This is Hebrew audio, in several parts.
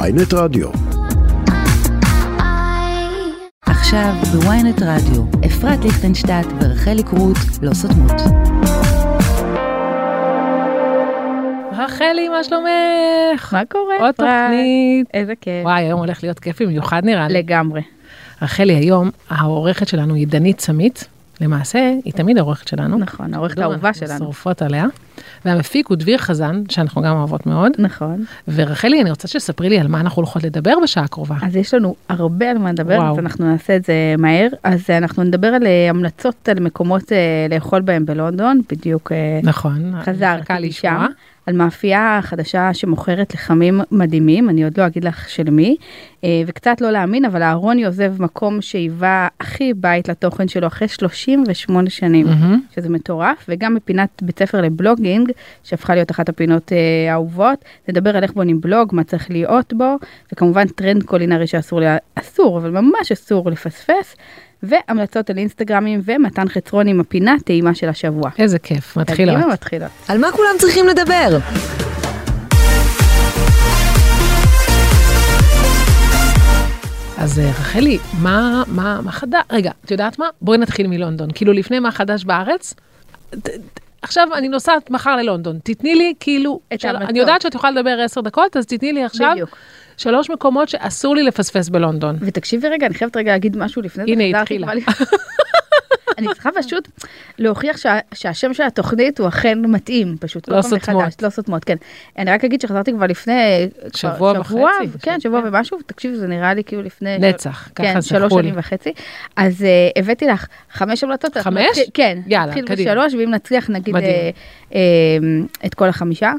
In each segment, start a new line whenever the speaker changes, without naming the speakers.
ויינט רדיו.
עכשיו בוויינט רדיו, אפרת ליכטנשטט ורחלי קרוט לא סותמות.
רחלי, מה שלומך?
מה קורה?
עוד
אפרת?
תוכנית.
איזה כיף.
וואי, היום הולך להיות כיף במיוחד נראה לי.
לגמרי.
רחלי, היום העורכת שלנו היא דנית סמית. למעשה, היא תמיד העורכת שלנו.
נכון,
לא,
העורכת
כדור,
האהובה
אנחנו
שלנו.
שורפות עליה. והמפיק הוא דביר חזן, שאנחנו גם אוהבות מאוד.
נכון.
ורחלי, אני רוצה שתספרי לי על מה אנחנו הולכות לדבר בשעה הקרובה.
אז יש לנו הרבה על מה לדבר,
וואו.
אז אנחנו נעשה את זה מהר. אז אה, אנחנו נדבר על אה, המלצות על מקומות אה, לאכול בהם בלונדון, בדיוק אה,
נכון. מחכה
חזרתי
לשמוע.
משם, על מאפייה חדשה שמוכרת לחמים מדהימים, אני עוד לא אגיד לך של מי, אה, וקצת לא להאמין, אבל אהרוני עוזב מקום שהיווה הכי בית לתוכן שלו אחרי 38 שנים.
מהמם.
שזה מטורף, וגם מפינת בית ספר לבלוגינג, שהפכה להיות אחת הפינות אה, האהובות, נדבר על איך בונים בלוג, מה צריך להיות בו, וכמובן טרנד קולינרי שאסור, לה- אסור, אבל ממש אסור לפספס, והמלצות על אינסטגרמים ומתן חצרון עם הפינה טעימה של השבוע.
איזה כיף, מתחילות.
קדימה, מתחילות.
לא. על מה כולם צריכים לדבר?
אז אה, רחלי, מה, מה, מה חדש? רגע, את יודעת מה? בואי נתחיל מלונדון. כאילו, לפני מה חדש בארץ, ת- ת- עכשיו אני נוסעת מחר ללונדון. תתני לי, כאילו,
את
של-
ההמלצות.
אני יודעת שאת יכולה לדבר עשר דקות, אז תתני לי עכשיו
בדיוק.
שלוש מקומות שאסור לי לפספס בלונדון.
ותקשיבי רגע, אני חייבת רגע להגיד משהו לפני זה.
נכון. הנה,
חזרתי
התחילה.
כבר ל- אני צריכה פשוט להוכיח שה, שהשם של התוכנית הוא אכן מתאים, פשוט. כל
לא
פעם
סותמות.
מחדש, לא סותמות, כן. אני רק אגיד שחזרתי כבר לפני... כבר
שבוע וחצי,
ו- כן, שבוע ומשהו, תקשיבי, זה נראה לי כאילו לפני...
נצח, ככה
כן,
זה
שלוש
חול.
שנים וחצי. אז אה, הבאתי לך חמש המלצות. אנחנו
חמש?
נתחיל- כן.
יאללה, קדימה.
נתחיל בשלוש, ואם נצליח נגיד
מדהים.
אה, אה, את כל החמישה.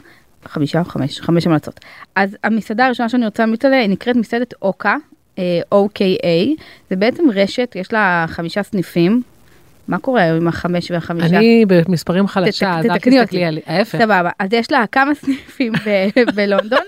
חמישה או חמש, חמש המלצות. אז המסעדה הראשונה שאני רוצה להמליץ עליה היא נקראת מסעדת אוקה, אה, OKA, זה בעצם רשת, יש לה חמישה סניפים. מה קורה היום עם החמש והחמישה?
אני במספרים חלשה, אז
תתקני
אל תסתכלי
אותי.
עלי, ההפך.
סבבה, אז יש לה כמה סניפים ב- בלונדון.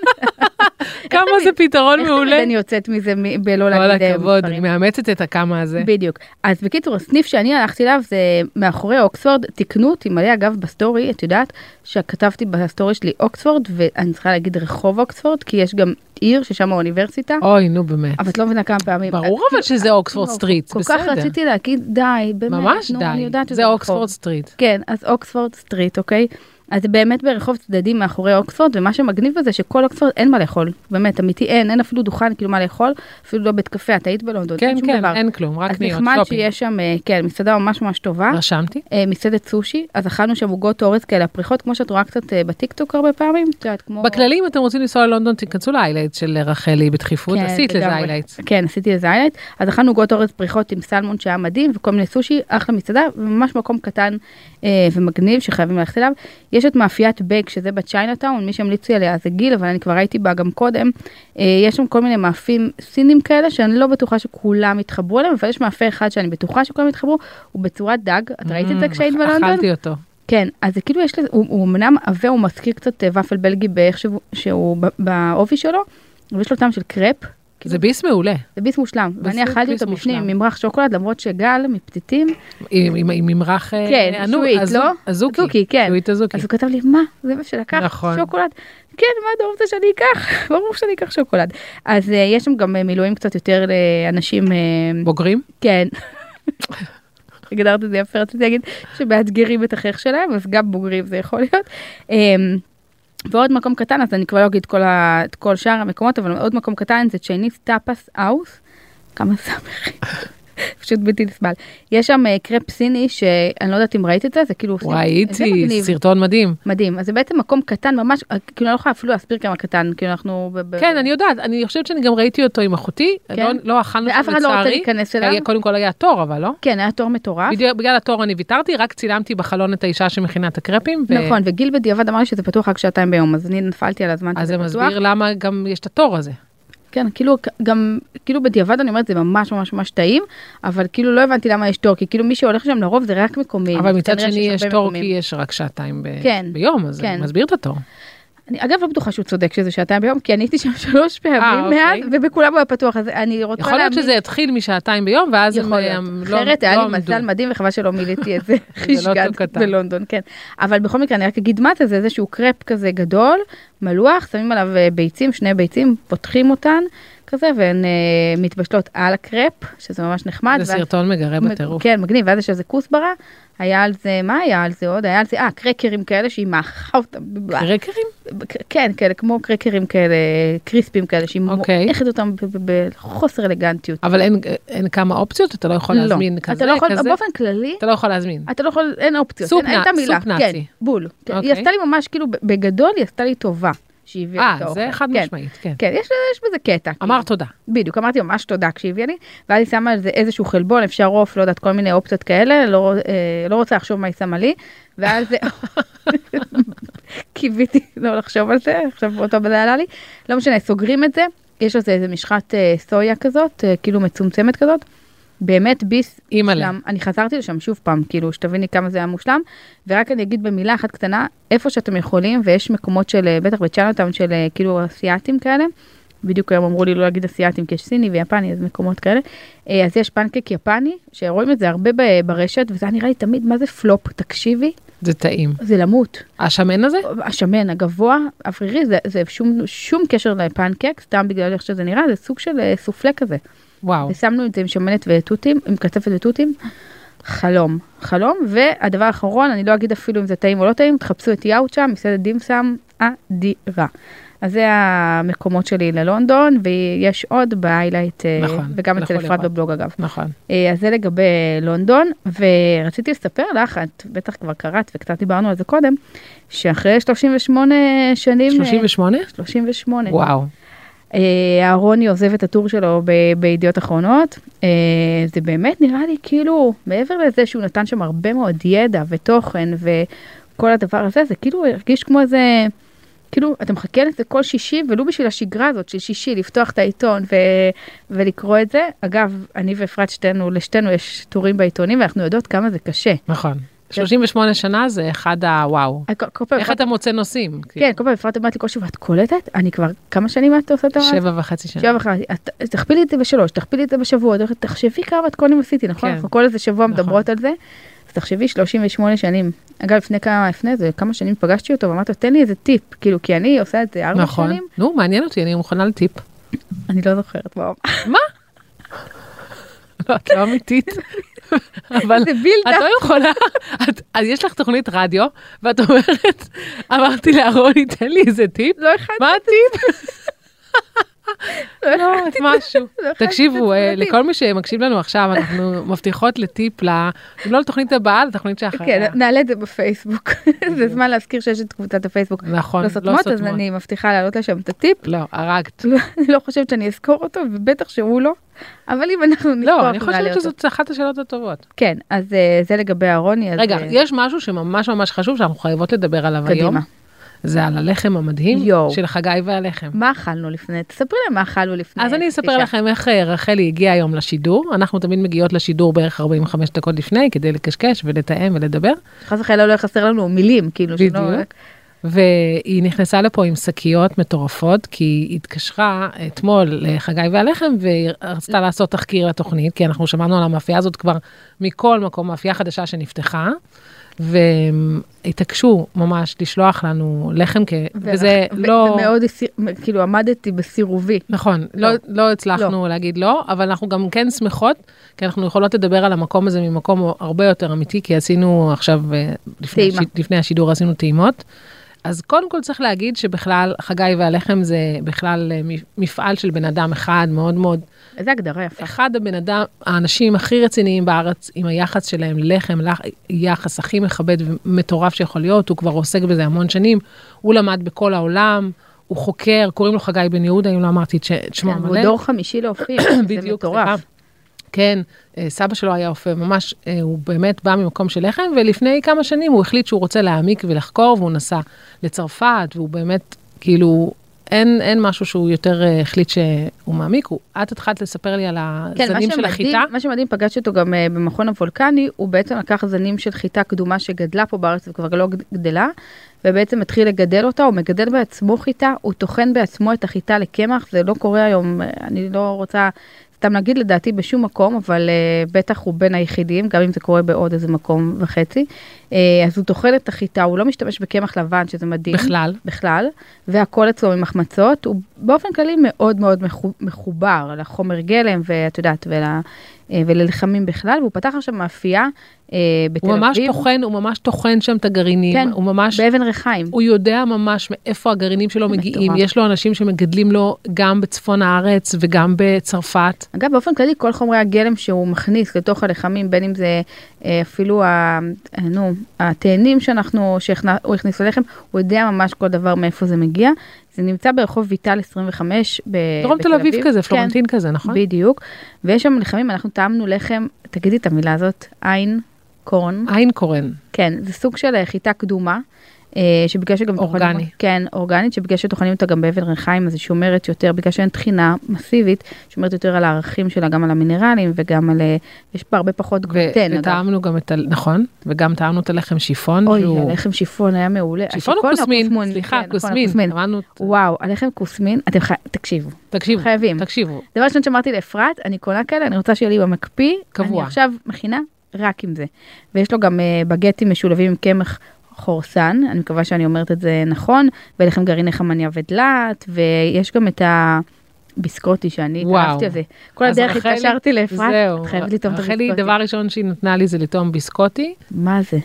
כמה זה פתרון
איך
מעולה.
תמיד אני יוצאת מזה מ- בלא
כל
להגיד אה,
הכבוד, אני
מספרים?
מאמצת את הכמה הזה.
בדיוק. אז בקיצור, הסניף שאני הלכתי אליו זה מאחורי אוקספורד, תיקנו אותי מלא אגב בסטורי, את יודעת, שכתבתי בסטורי שלי אוקספורד, ואני צריכה להגיד רחוב אוקספורד, כי יש גם עיר ששם האוניברסיטה,
אוי, נו באמת.
אבל את לא מבינה כמה פעמים.
אוקיי. ברור אבל
כאילו,
שזה אוקספורד
לא,
סטריט,
כל כך
בסדר.
רציתי להגיד די, באמת,
ממש
נו, אני
די,
יודעת שזה
זה אוקספורד
רחוב."
סטריט.
כן, אז אוקספורד סטריט, אוקיי? אז זה באמת ברחוב צדדי מאחורי אוקספורד, ומה שמגניב בזה שכל אוקספורד אין מה לאכול, באמת, אמיתי, אין, אין אפילו דוכן, כאילו מה לאכול, אפילו לא בית קפה, את היית בלונדון,
כן,
אין שום
כן,
דבר.
אין כלום, רק
אז
קניות,
נחמד
שופינג.
שיש שם, אה, כן, מסעדה ממש ממש טובה,
רשמתי.
אה, מסעדת סושי, אז אכלנו שם עוגות אורז כאלה, הפריחות, כמו שאת רואה קצת אה, בטיקטוק הרבה פעמים, את יודעת, כמו...
בכללי, אם אתם רוצים לנסוע ללונדון, תיכנסו להיילייט של רחלי בדחיפות,
כן,
עשית לזה
לגמרי.
היילייט.
כן, עשיתי לזה איילייט. אז אכלנו עוגות אורז פריחות עם סלמון שהיה מדהים, וכל מיני סושי, אחלה מסעדה, וממש מקום קטן אה, ומגניב שחייבים ללכת אליו. יש את מאפיית בג, שזה בצ'יינאטאון, מי שהמליץ לי עליה זה גיל, אבל אני כבר הייתי בה גם קודם. אה, יש שם כל מיני מאפים סינים כאלה, שאני לא בטוחה שכולם יתחברו אליהם, אבל יש מאפה אחד שאני בטוחה שכולם יתחברו, הוא בצורת דג. את Mm-hmm. ראית את זה
Mm,
כשהיית
אכ-
בלונדון?
אכלתי אותו.
כן, אז זה כאילו יש לזה, הוא הוא אמנם עבה, הוא מזכיר קצת אה, ופל בלגי באיך שהוא- שהוא ב- באופי שלו, אבל יש לו טעם של קרפ. כאילו,
זה ביס מעולה,
זה ביס מושלם, ואני
ביס-
אכלתי
ביס
אותו בפנים עם
מושלם.
ממרח שוקולד, למרות שגל מפתיתים,
עם- עם- עם ממרח... אה,
כן,
ענו-
שועית,
אז-
לא?
אזוקי.
אזוקי, כן.
שועית אזוקי.
אז הוא כתב לי, מה, זה מה שלקח,
אוקיי. נכון.
שוקולד? כן, מה אתה רוצה שאני אקח? ברור שאני אקח שוקולד. אז אה, יש שם גם אה, מילואים קצת יותר לאנשים, אה,
בוגרים?
כן. הגדרת את זה יפה, רציתי להגיד שמאתגרים את החייך שלהם, אז גם בוגרים זה יכול להיות. אמ, ועוד מקום קטן, אז אני כבר לא אגיד כל ה- את כל שאר המקומות, אבל עוד מקום קטן זה צ'ייניס טאפס אאוס. כמה סמך. פשוט בלתי נסבל. יש שם אה, קרפ סיני שאני לא יודעת אם ראית את זה, זה כאילו... סיני. זה
ראיתי,
מגניב.
סרטון מדהים.
מדהים. אז זה בעצם מקום קטן ממש, אה, כאילו אני לא יכולה אפילו להסביר כמה קטן, כאילו אנחנו... ב- ב-
כן, אני יודעת, אני חושבת שאני גם ראיתי אותו עם אחותי,
כן?
לא- לא אכלנו
ואף
אותו
אחד לא רוצה
לצערי.
להיכנס אליו.
היה- קודם כל היה תור, אבל לא?
כן, היה תור מטורף.
בדיוק- בגלל התור אני ויתרתי, רק צילמתי בחלון את האישה שמכינה את הקרפים. ו-
נכון, וגיל בדיעבד אמר לי שזה פתוח רק שעתיים ביום, אז אני נפלתי על הזמן
אז זה
שזה פתוח.
מסביר למה גם יש את התור הזה.
כן, כאילו, גם, כאילו בדיעבד אני אומרת, זה ממש ממש ממש טעים, אבל כאילו לא הבנתי למה יש תור, כי כאילו מי שהולך שם לרוב זה רק מקומי.
אבל מצד
כנראה
שני
שיש
יש
הרבה
תור כי
מקומיים.
יש רק שעתיים ב-
כן.
ביום, אז זה
כן.
מסביר את התור.
אני אגב לא בטוחה שהוא צודק שזה שעתיים ביום, כי אני הייתי שם שלוש פעמים
אוקיי.
מאז, ובכולם הוא היה פתוח, אז אני רוצה
יכול להיות
להאמין-
שזה יתחיל משעתיים ביום, ואז הם
יכול להיות.
הם לא
אחרת היה
לא
לי
עמדו. לא
מזל מדהים וחבל שלא מילאתי את זה חישגת
אותו קטן.
בלונדון, כן. אבל בכל מקרה אני רק אגיד מה זה, זה איזשהו קרפ כזה גדול, מלוח, שמים עליו אה, ביצים, שני ביצים, פותחים אותן כזה, והן אה, מתבשלות על הקרפ, שזה ממש נחמד.
זה
ואז-
סרטון מגרה בטירוף.
כן, מגניב, ואז יש איזה כוסברה, היה על זה, מה היה על זה עוד? היה על זה, אה, קרקרים כאלה שהיא מאחה אותם.
קרקרים?
כן, כאלה, כמו קרקרים כאלה, אה, קריספים כאלה, שהיא
אוקיי.
מועכת אותם ב- ב- בחוסר אלגנטיות.
אבל אין- אין כמה אופציות, אתה לא יכול
לא.
להזמין כזה,
אתה לא יכול,
כזה.
באופן כללי,
אתה לא יכול להזמין.
אתה לא יכול, אין אופציות,
סופ
אין, אין
נ-
את המילה.
סופ נאצי.
כן, בול. כן,
אוקיי.
היא עשתה לי ממש, כאילו, ב- בגדול היא עשתה לי טובה שהיא הביאה את
אה,
האוכל.
זה חד
כן.
משמעית, כן.
כן, יש, יש בזה קטע.
אמר תודה.
בדיוק, אמרתי ממש תודה כשהביאה לי, ואז היא שמה על זה איזשהו חלבון, אפשר עוף, לא יודעת, כל מיני אופציות כאלה, לא, אה, לא רוצה לחשוב מה היא שמה לי, ואז קיוויתי לא לחשוב על זה, עכשיו באותו בזה עלה לי, לא משנה, סוגרים את זה, יש על זה איזה משחת אה, סויה כזאת, אה, כאילו מצומצמת כזאת, באמת ביס
אימא'לה.
מושלם. אני חזרתי לשם שוב פעם, כאילו, שתביני כמה זה היה מושלם, ורק אני אגיד במילה אחת קטנה, איפה שאתם יכולים, ויש מקומות של, אה, בטח בצ'אנוטאון של אה, כאילו אסיאתים כאלה, בדיוק היום אמרו לי לא להגיד אסיאתים, כי יש סיני ויפני, אז מקומות כאלה, אה, אז יש פנקק יפני, שרואים את זה הרבה ב- ברשת, וזה היה נראה לי תמיד, מה זה פלופ, תקשיבי,
זה טעים.
זה למות.
השמן הזה?
השמן הגבוה, אוורירי, זה, זה שום, שום קשר לפנקק, סתם בגלל איך שזה נראה, זה סוג של אה, סופלה כזה.
וואו.
ושמנו את זה עם שמנת ותותים, עם קצפת ותותים. חלום, חלום, והדבר האחרון, אני לא אגיד אפילו אם זה טעים או לא טעים, תחפשו את יאוצ'ה, מסעדת דים סם אדירה. אז זה המקומות שלי ללונדון, ויש עוד ב-highlight, אה,
נכון,
וגם אצל
לכו
אפרת
לראות.
בבלוג אגב.
נכון.
אה, אז זה לגבי לונדון, ורציתי לספר לך, את בטח כבר קראת וקצת דיברנו על זה קודם, שאחרי 38 שנים, אה,
38?
38,
וואו.
אה, אהרוני עוזב את הטור שלו ב- בידיעות אחרונות. אה, זה באמת נראה לי כאילו, מעבר לזה שהוא נתן שם הרבה מאוד ידע ותוכן וכל הדבר הזה, זה כאילו הרגיש כמו איזה, כאילו אתה מחכה לזה כל שישי, ולו בשביל השגרה הזאת של שישי, לפתוח את העיתון ו- ולקרוא את זה. אגב, אני ואפרת שתינו, לשתינו יש טורים בעיתונים, ואנחנו יודעות כמה זה קשה.
נכון.
כן.
38 שנה זה אחד הוואו.
אה, כל- כל פעם
איך
אפרת-
אתה מוצא נושאים?
לא כן, כל פעם אפרת אומרת לי כל שבוע, את קולטת? אני כבר, כמה שנים את עושה את המעשה?
שבע וחצי שנה.
שבע וחצי, את- אז תכפילי את זה בשלוש, תכפילי את זה בשבוע, את הולכת, תחשבי כמה את קודם עשיתי, נכון?
כן.
אנחנו כל איזה שבוע
נכון.
מדברות על זה. אז תחשבי 38 שנים. אגב, לפני כמה, לפני איזה כמה שנים פגשתי אותו ואמרתי לו, תן לי איזה טיפ, כאילו, כי אני עושה את זה ארבע
נכון.
שנים,
נו, מעניין אותי, אני מוכנה לטיפ.
אני לא זוכרת, וואו.
לא, את לא אמיתית. אבל
זה בילדה.
את לא יכולה, את- אז יש לך תוכנית רדיו, ואת אומרת, אמרתי לאהרוני, תן לי איזה טיפ.
לא הכנתי,
מה הטיפ?
לא הכנתי.
לא, את משהו.
לא הכנתי
תקשיבו, אה,
את הטיפ.
לכל מי שמקשיב לנו עכשיו, אנחנו מבטיחות לטיפ, ל- אם לא לתוכנית הבאה, לתוכנית שאחריה.
כן, נעלה את זה בפייסבוק. זה זמן להזכיר שיש את קבוצת הפייסבוק.
נכון,
לא סותמות, אז אני מבטיחה להעלות לשם את הטיפ.
לא, הרגת.
לא- אני לא חושבת שאני אזכור אותו, ובטח שהוא לא. אבל אם אנחנו נזכור,
לא, אני
אנחנו נעלה
חושבת
אותו.
שזאת אחת השאלות הטובות.
כן, אז אה, זה לגבי אהרוני. אז,
רגע,
אה,
יש משהו שממש ממש חשוב שאנחנו חייבות לדבר עליו היום.
קדימה.
זה על הלחם המדהים
יואו.
של חגי והלחם.
מה אכלנו לפני? תספרי להם מה אכלנו לפני.
אז אני אספר
תשעה.
לכם איך אה, רחלי הגיעה היום לשידור. אנחנו תמיד מגיעות לשידור בערך 45 דקות לפני כדי לקשקש ולתאם ולדבר.
חס וחלילה לא יחסר לנו מילים, כאילו, שלא...
בדיוק. והיא נכנסה לפה עם שקיות מטורפות, כי היא התקשרה אתמול לחגי והלחם והיא רצתה לעשות תחקיר לתוכנית, כי אנחנו שמענו על המאפייה הזאת כבר מכל מקום, מאפייה חדשה שנפתחה. והתעקשו ממש לשלוח לנו לחם, כ...
ורח-
וזה
ו-
לא...
ומאוד, הסיר- כאילו, עמדתי בסירובי.
נכון, לא,
לא.
לא הצלחנו להגיד לא, אבל אנחנו גם כן שמחות, כי אנחנו יכולות לדבר על המקום הזה ממקום הרבה יותר אמיתי, כי עשינו עכשיו, אה, לפני,
טעימה.
השי- לפני השידור עשינו טעימות. אז קודם כל צריך להגיד שבכלל, חגי והלחם זה בכלל אה, מ- מפעל של בן אדם אחד, מאוד מאוד,
איזה הגדרה יפה.
אחד הבן אדם, האנשים הכי רציניים בארץ, עם היחס שלהם לחם, לח- יחס הכי מכבד ומטורף שיכול להיות, הוא כבר עוסק בזה המון שנים, הוא למד בכל העולם. הוא חוקר, קוראים לו חגי בן יהודה, אם לא אמרתי את ש- את שמו
כן,
המלא.
הוא דור חמישי להופיע, זה
בדיוק,
מטורף.
סליחה. כן, אה, סבא שלו היה אופה, ממש, אה, הוא באמת בא ממקום של לחם, ולפני כמה שנים הוא החליט שהוא רוצה להעמיק ולחקור, והוא נסע לצרפת, והוא באמת, כאילו, אין, אין משהו שהוא יותר אה, החליט שהוא מעמיק, הוא, את התחלת לספר לי על
כן, מה
הזנים של
שמדהים-
החיטה.
מה שמדהים, פגשתי אותו גם אה, במכון הוולקני, הוא בעצם לקח זנים של חיטה קדומה שגדלה פה בארץ וכבר לא גד- גדלה, ובעצם התחיל לגדל אותה, הוא מגדל בעצמו חיטה, הוא טוחן בעצמו את החיטה לקמח, זה לא קורה היום, אה, אני לא רוצה סתם להגיד לדעתי בשום מקום, אבל אה, בטח הוא בין היחידים, גם אם זה קורה בעוד איזה מקום וחצי. אה, אז הוא טוחן את החיטה, הוא לא משתמש בקמח לבן, שזה מדהים.
בכלל.
בכלל, והכל אצלו ממחמצות, הוא באופן כללי מאוד מאוד מחו- מחובר לחומר גלם, ואת יודעת, ול, אה, וללחמים בכלל, והוא פתח עכשיו מאפייה אה, בתל
הוא ממש
אביב,
טוחן, הוא ממש טוחן שם את הגרעינים,
כן,
הוא ממש,
באבן ריחיים.
הוא יודע ממש מאיפה הגרעינים שלו מגיעים.
מטורף.
יש לו אנשים שמגדלים לו גם בצפון הארץ וגם בצרפת.
אגב, באופן כללי, כל חומרי הגלם שהוא מכניס לתוך הלחמים, בין אם זה אה, אפילו, ה, אה, נו, התאנים שאנחנו, שהוא הכניס ללחם, הוא יודע ממש כל דבר מאיפה זה מגיע. זה נמצא ברחוב ויטל 25 ב- אה, בתל אביב.
דרום תל אביב כזה,
כן.
פלורנטין כזה, נכון?
בדיוק, ויש שם לחמים, אנחנו טעמנו לחם, תגידי את המילה הזאת, עין קורן,
אה. איינקורן.
כן, זה סוג של אה, חיטה קדומה, אה, שבגלל שגם...
אורגני.
טוחנים- כן, אורגנית, שבגלל שטוחנים אותה גם באבן ריחיים, אז היא שומרת יותר, בגלל שאין טחינה מסיבית, שומרת יותר על הערכים שלה, גם על המינרלים וגם על... אה, יש בה הרבה פחות גלוטן,
ו-
כן, אגב.
וטעמנו גם את ה... נכון? וגם טעמנו את הלחם שיפון.
אוי,
שהוא-
הלחם שיפון היה מעולה.
שיפון או
השיפון
כוסמין?
הכוסמון, כן,
סליחה,
נכון,
כוסמין. אמרנו,
וואו, הלחם כוסמין, אתם חי... תקשיבו,
תקשיבו,
חייבים.
תקשיבו.
דבר ראשון שאמרתי לאפרת, אני קונה כאלה, אני רוצה שיהיה לי במקפיא.
קבוע.
אני עכשיו מכינה רק עם זה. ויש לו גם אה, בגטים משולבים עם קמח חורסן, אני מקווה שאני אומרת את זה נכון, ולחם גרעיני חמניה ודלעת, ויש גם את הביסקוטי שאני
וואו.
התאהבתי על זה. כל
אז
הדרך
רחלי-
התקשרתי לאפרת,
זהו.
את חייבת לטעום את
רחלי,
הביסקוטי.
דבר ראשון שהיא נתנה לי זה לטעום ביסקוטי.
מה זה?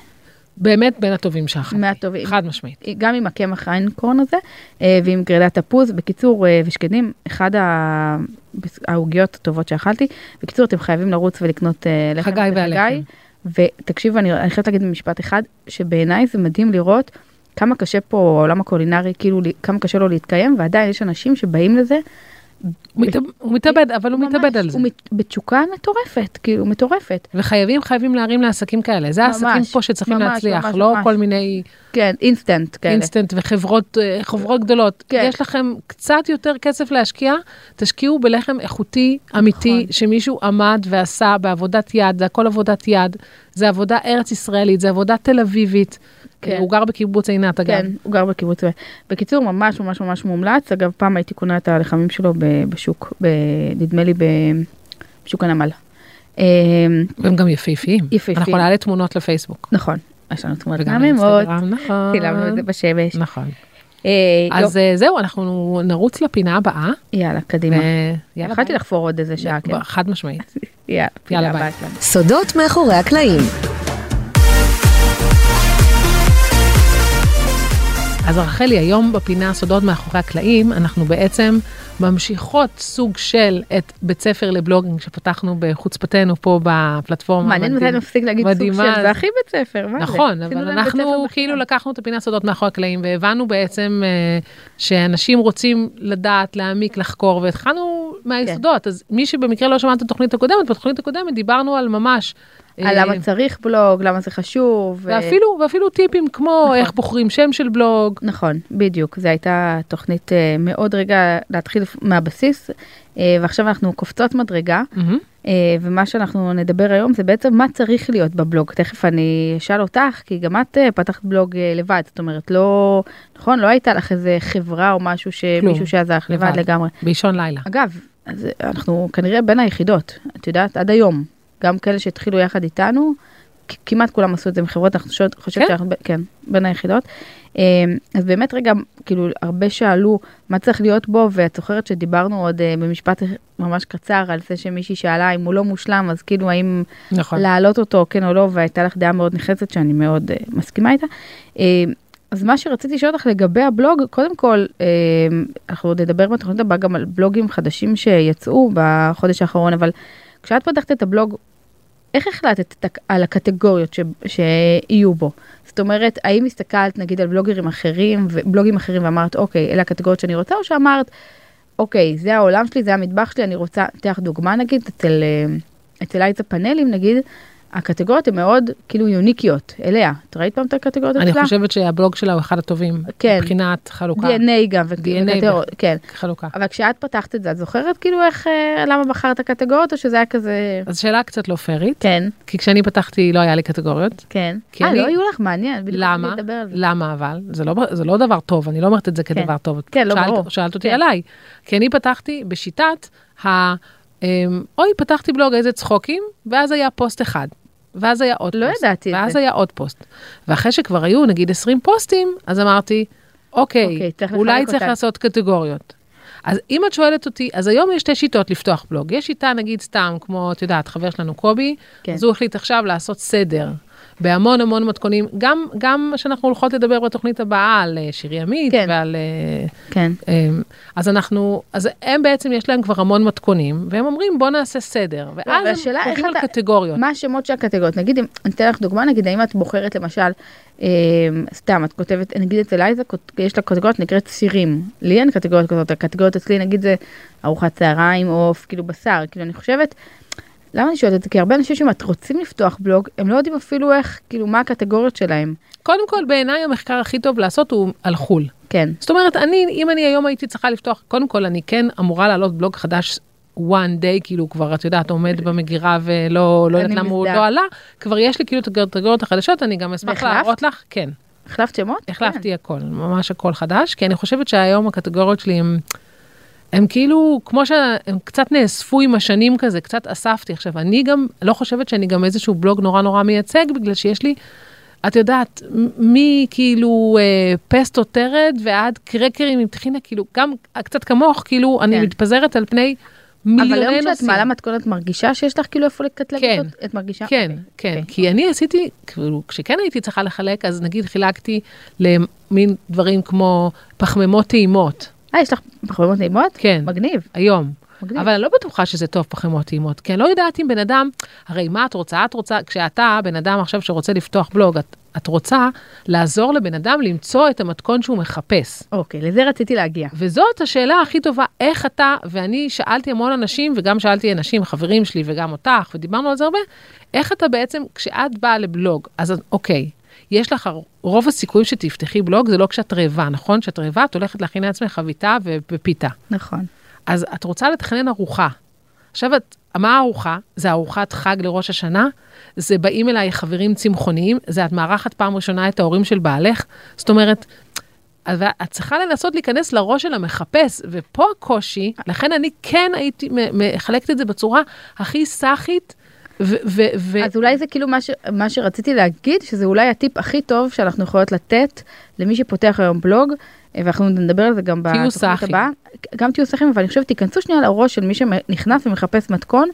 באמת בין הטובים שאכלתי.
מהטובים.
חד משמעית.
גם עם הקמח איינקורן הזה, אה, ועם גרילת תפוז. בקיצור, אה, ושקדים, אחד ה- העוגיות הטובות שאכלתי. בקיצור, אתם חייבים לרוץ ולקנות אה, לחם
חגי והלחם.
ותקשיבו, אני, אני חייבת להגיד במשפט אחד, שבעיניי זה מדהים לראות כמה קשה פה העולם הקולינרי, כאילו לי- כמה קשה לו להתקיים, ועדיין יש אנשים שבאים לזה.
הוא מת- הוא מתאבד, אבל הוא
ממש,
לא מתאבד על זה.
הוא מת, בתשוקה מטורפת, כאילו מטורפת.
וחייבים, חייבים להרים לעסקים כאלה. זה
ממש,
העסקים פה שצריכים
ממש,
להצליח,
ממש,
לא
ממש.
כל מיני
כן, אינסטנט כאלה.
אינסטנט וחברות אה, חברות גדולות.
כן.
יש לכם קצת יותר כסף להשקיע, תשקיעו בלחם איכותי, אמיתי,
נכון.
שמישהו עמד ועשה בעבודת יד, זה הכל עבודת יד, זה עבודה ארץ ישראלית, זה עבודה תל אביבית.
כן.
הוא גר בקיבוץ עינת אגב.
כן, הוא גר בקיבוץ. צבאי. בקיצור, ממש ממש ממש מומלץ. אגב, פעם הייתי קונה את הלחמים שלו ב- בשוק, ב- נדמה לי ב- בשוק הנמל. אה,
והם גם יפהפיים.
יפהפיים.
אנחנו נעלה תמונות לפייסבוק.
נכון, יש לנו תמונות
וגם
מהממות,
לאינסטגרם, נכון.
צילמנו את זה בשמש.
נכון.
אה, לא,
אז אה, זהו, אנחנו נרוץ לפינה הבאה.
יאללה, קדימה.
ויאללה,
יכלתי
ביי.
לחפור עוד איזה שעה, כן.
חד משמעית.
יאללה,
יאללה,
פינה
ביי.
הבאה שלנו.
סודות מאחורי הקלעים.
אז רחלי, היום בפינה סודות מאחורי הקלעים, אנחנו בעצם ממשיכות סוג של את בית ספר לבלוגינג שפתחנו בחוצפתנו פה בפלטפורמה.
מעניין מתי
המדהים-
נפסיק להגיד סוג
מדהימה
של, זה
הזאת.
הכי בית ספר, מה זה?
נכון,
עשינו
אבל
להם בית ספר
אנחנו
בחינם.
כאילו לקחנו את הפינה סודות מאחורי הקלעים והבנו בעצם אה, שאנשים רוצים לדעת, להעמיק, לחקור, והתחלנו
כן.
מהיסודות. אז מי שבמקרה לא שמע את התוכנית הקודמת, בתוכנית הקודמת דיברנו על ממש... אה,
על למה צריך בלוג, למה זה חשוב. אה, ו-
ואפילו, ואפילו טיפים כמו איך בוחרים שם של בלוג,
נכון, בדיוק. זו הייתה תוכנית אה, מאוד רגע להתחיל מהבסיס, אה, ועכשיו אנחנו קופצות מדרגה, אה, ומה שאנחנו נדבר היום זה בעצם מה צריך להיות בבלוג. תכף אני אשאל אותך, כי גם את אה, פתחת בלוג אה, לבד, זאת אומרת, לא, נכון, לא הייתה לך איזה חברה או משהו שמישהו שעזר לך לבד
לבד.
לגמרי.
באישון לילה.
אגב, אז אנחנו כנראה בין היחידות, את יודעת, עד היום, גם כאלה שהתחילו יחד איתנו, כ- כמעט כולם עשו את זה עם חברות, אנחנו חושבת חושבת
כן?
שאנחנו, ב- כן, בין היחידות. אה, אז באמת רגע, כאילו, הרבה שאלו מה צריך להיות בו, ואת זוכרת שדיברנו עוד אה, במשפט ממש קצר על זה שמישהי שאלה אם הוא לא מושלם, אז כאילו האם
נכון.
להעלות אותו, כן או לא, והייתה לך דעה מאוד נחרצת שאני מאוד אה, מסכימה איתה. אה, אז מה שרציתי לשאול אותך לגבי הבלוג, קודם כל, אה, אנחנו עוד נדבר בתוכנית הבאה גם על בלוגים חדשים שיצאו בחודש האחרון, אבל כשאת פתחת את הבלוג, איך החלטת את הק- על הקטגוריות ש, שיהיו בו? זאת אומרת, האם הסתכלת נגיד על בלוגרים אחרים, ו- בלוגים אחרים ואמרת, אוקיי, אלה הקטגוריות שאני רוצה, או שאמרת, אוקיי, זה העולם שלי, זה המטבח שלי, אני רוצה, אתן לך דוגמה נגיד, אצל, אה, אצל אייצה פאנלים נגיד, הקטגוריות הן מאוד כאילו יוניקיות אליה. את ראית פעם את הקטגוריות
אני
אצלה?
חושבת שהבלוג שלה הוא אחד הטובים.
כן.
מבחינת חלוקה.
DNA גם. ו-
DNA
וקטגוריות, כן.
חלוקה.
אבל כשאת פתחת את זה, את זוכרת כאילו איך, אה, למה בחרת קטגוריות, או שזה היה כזה...
אז שאלה קצת לא פיירית,
כן,
כי כשאני פתחתי לא היה לי קטגוריות.
כן.
כי
אה,
אני-
לא היו לך מעניין, בדיוק
למה?
רציתי לדבר על זה.
למה אבל? זה לא, זה לא דבר טוב, אני לא אומרת את זה כדבר טוב.
כן, לא
שאלת,
ברור.
שאלת אותי
כן.
עליי. כי אני פתחתי בשיטת ה... אמ, אוי, פתחתי בלוג איזה צחוקים, ואז היה פוסט אחד. ואז היה עוד
לא
פוסט.
ידעתי את
ואז
זה.
היה עוד פוסט. ואחרי שכבר היו נגיד 20 פוסטים, אז אמרתי, אוקיי,
אוקיי, צריך
אולי
לחלק
צריך
אותם."
לעשות קטגוריות. אז אם את שואלת אותי, אז היום יש שתי שיטות לפתוח בלוג. יש שיטה נגיד סתם, כמו, את יודעת, חבר שלנו קובי,
כן.
כן. אז הוא החליט עכשיו לעשות סדר בהמון המון מתכונים, גם, גם שאנחנו הולכות לדבר בתוכנית הבאה על אה, שירי עמית
כן.
כן. ועל... אה,
כן,
אמ, אז אנחנו, אז הם בעצם, יש להם כבר המון מתכונים, והם אומרים בוא נעשה סדר, ואז
לא, והשאלה
הם
איך
חושבים על
אתה-
קטגוריות.
מה השמות של הקטגוריות? נגיד, אם- אני אתן לך דוגמה, נגיד, האם את בוחרת למשל, אה, סתם, את כותבת, נגיד אצל עליזה, יש לה קטגוריות נקראת סירים. לי אין קטגוריות כזאת, הקטגוריות אצלי, נגיד, זה ארוחת צהריים, עוף, כאילו בשר, כאילו, אני חושבת, למה אני שואלת את זה? כי הרבה אנשים שרוצים לפתוח בלוג, הם לא יודעים אפילו איך, כאילו, מה הקטגוריות שלהם.
קודם כל, בעיניי המחקר הכי טוב לעשות הוא על חו"ל.
כן,
זאת אומרת, אני, אם אני היום הייתי צריכה לפתוח, קודם כל, אני כן אמורה לעלות בלוג חדש. one day כאילו כבר את יודעת עומד במגירה ולא לא
כן. אני
יודעת למה הוא
מזדהה.
לא עלה כבר יש לי כאילו את הקטגוריות החדשות אני גם אשמח
והחלפת?
להראות לך כן
החלפת שמות? כן.
החלפתי הכל, ממש הכל חדש, כי אני חושבת שהיום הקטגוריות שלי הם, הם כאילו, כמו שהם קצת נאספו עם השנים כזה, קצת אספתי. עכשיו, אני גם לא חושבת שאני גם איזשהו בלוג נורא נורא מייצג, בגלל שיש לי, את יודעת, מ- מכאילו אה, פסטו טרד ועד קרקרים עם טחינה, כאילו, גם אה, קצת כמוך, כאילו, אני
כן.
מתפזרת על פני
כן.
מיליוני
אבל
לא נושאים.
היום כשאת מעלה מתכון, את מרגישה שיש לך כאילו איפה לקטלג
כן.
אותו? את מרגישה?
כן, כן,
אוקיי.
כי אני עשיתי, כאילו, כשכן הייתי צריכה לחלק, אז נגיד חילקתי למין דברים כמו פחמימות טעימות,
אה, יש לך חברים נעימות?
כן.
מגניב,
היום.
מגניב.
אבל אני לא בטוחה שזה טוב פחמימות טעימות, כי אני לא יודעת אם בן אדם, הרי מה את רוצה? את רוצה, כשאתה בן אדם עכשיו שרוצה לפתוח בלוג, את, את רוצה לעזור לבן אדם למצוא את המתכון שהוא מחפש.
אוקיי, לזה רציתי להגיע.
וזאת השאלה הכי טובה, איך אתה, ואני שאלתי המון אנשים, וגם שאלתי אנשים, חברים שלי וגם אותך, ודיברנו על זה הרבה, איך אתה בעצם, כשאת באה לבלוג, אז את- אוקיי, יש לך, רוב הסיכויים שתפתחי בלוג זה לא כשאת רעבה, נכון? כשאת רעבה את הולכת להכין לעצמך חביתה ו- ופיתה.
נכון.
אז את רוצה לתכנן ארוחה. עכשיו, את, מה הארוחה? זה ארוחת חג לראש השנה? זה באים אליי חברים צמחוניים? זה את מארחת פעם ראשונה את ההורים של בעלך? זאת אומרת, אבל את צריכה לנסות להיכנס לראש של המחפש, ופה הקושי, לכן אני כן הייתי מ- מחלקת את זה בצורה הכי סאחית, ו... ו, ו
אז אולי זה כאילו מה, ש... מה שרציתי להגיד, שזה אולי הטיפ הכי טוב שאנחנו יכולות לתת למי שפותח היום בלוג, אה, ואנחנו נדבר על זה גם
תהיו
בתוכנית
סאחים.
הבאה. גם תהיו סאחים, אבל אני חושבת, תיכנסו שנייה לראש של מי שנכנס ומחפש מתכון,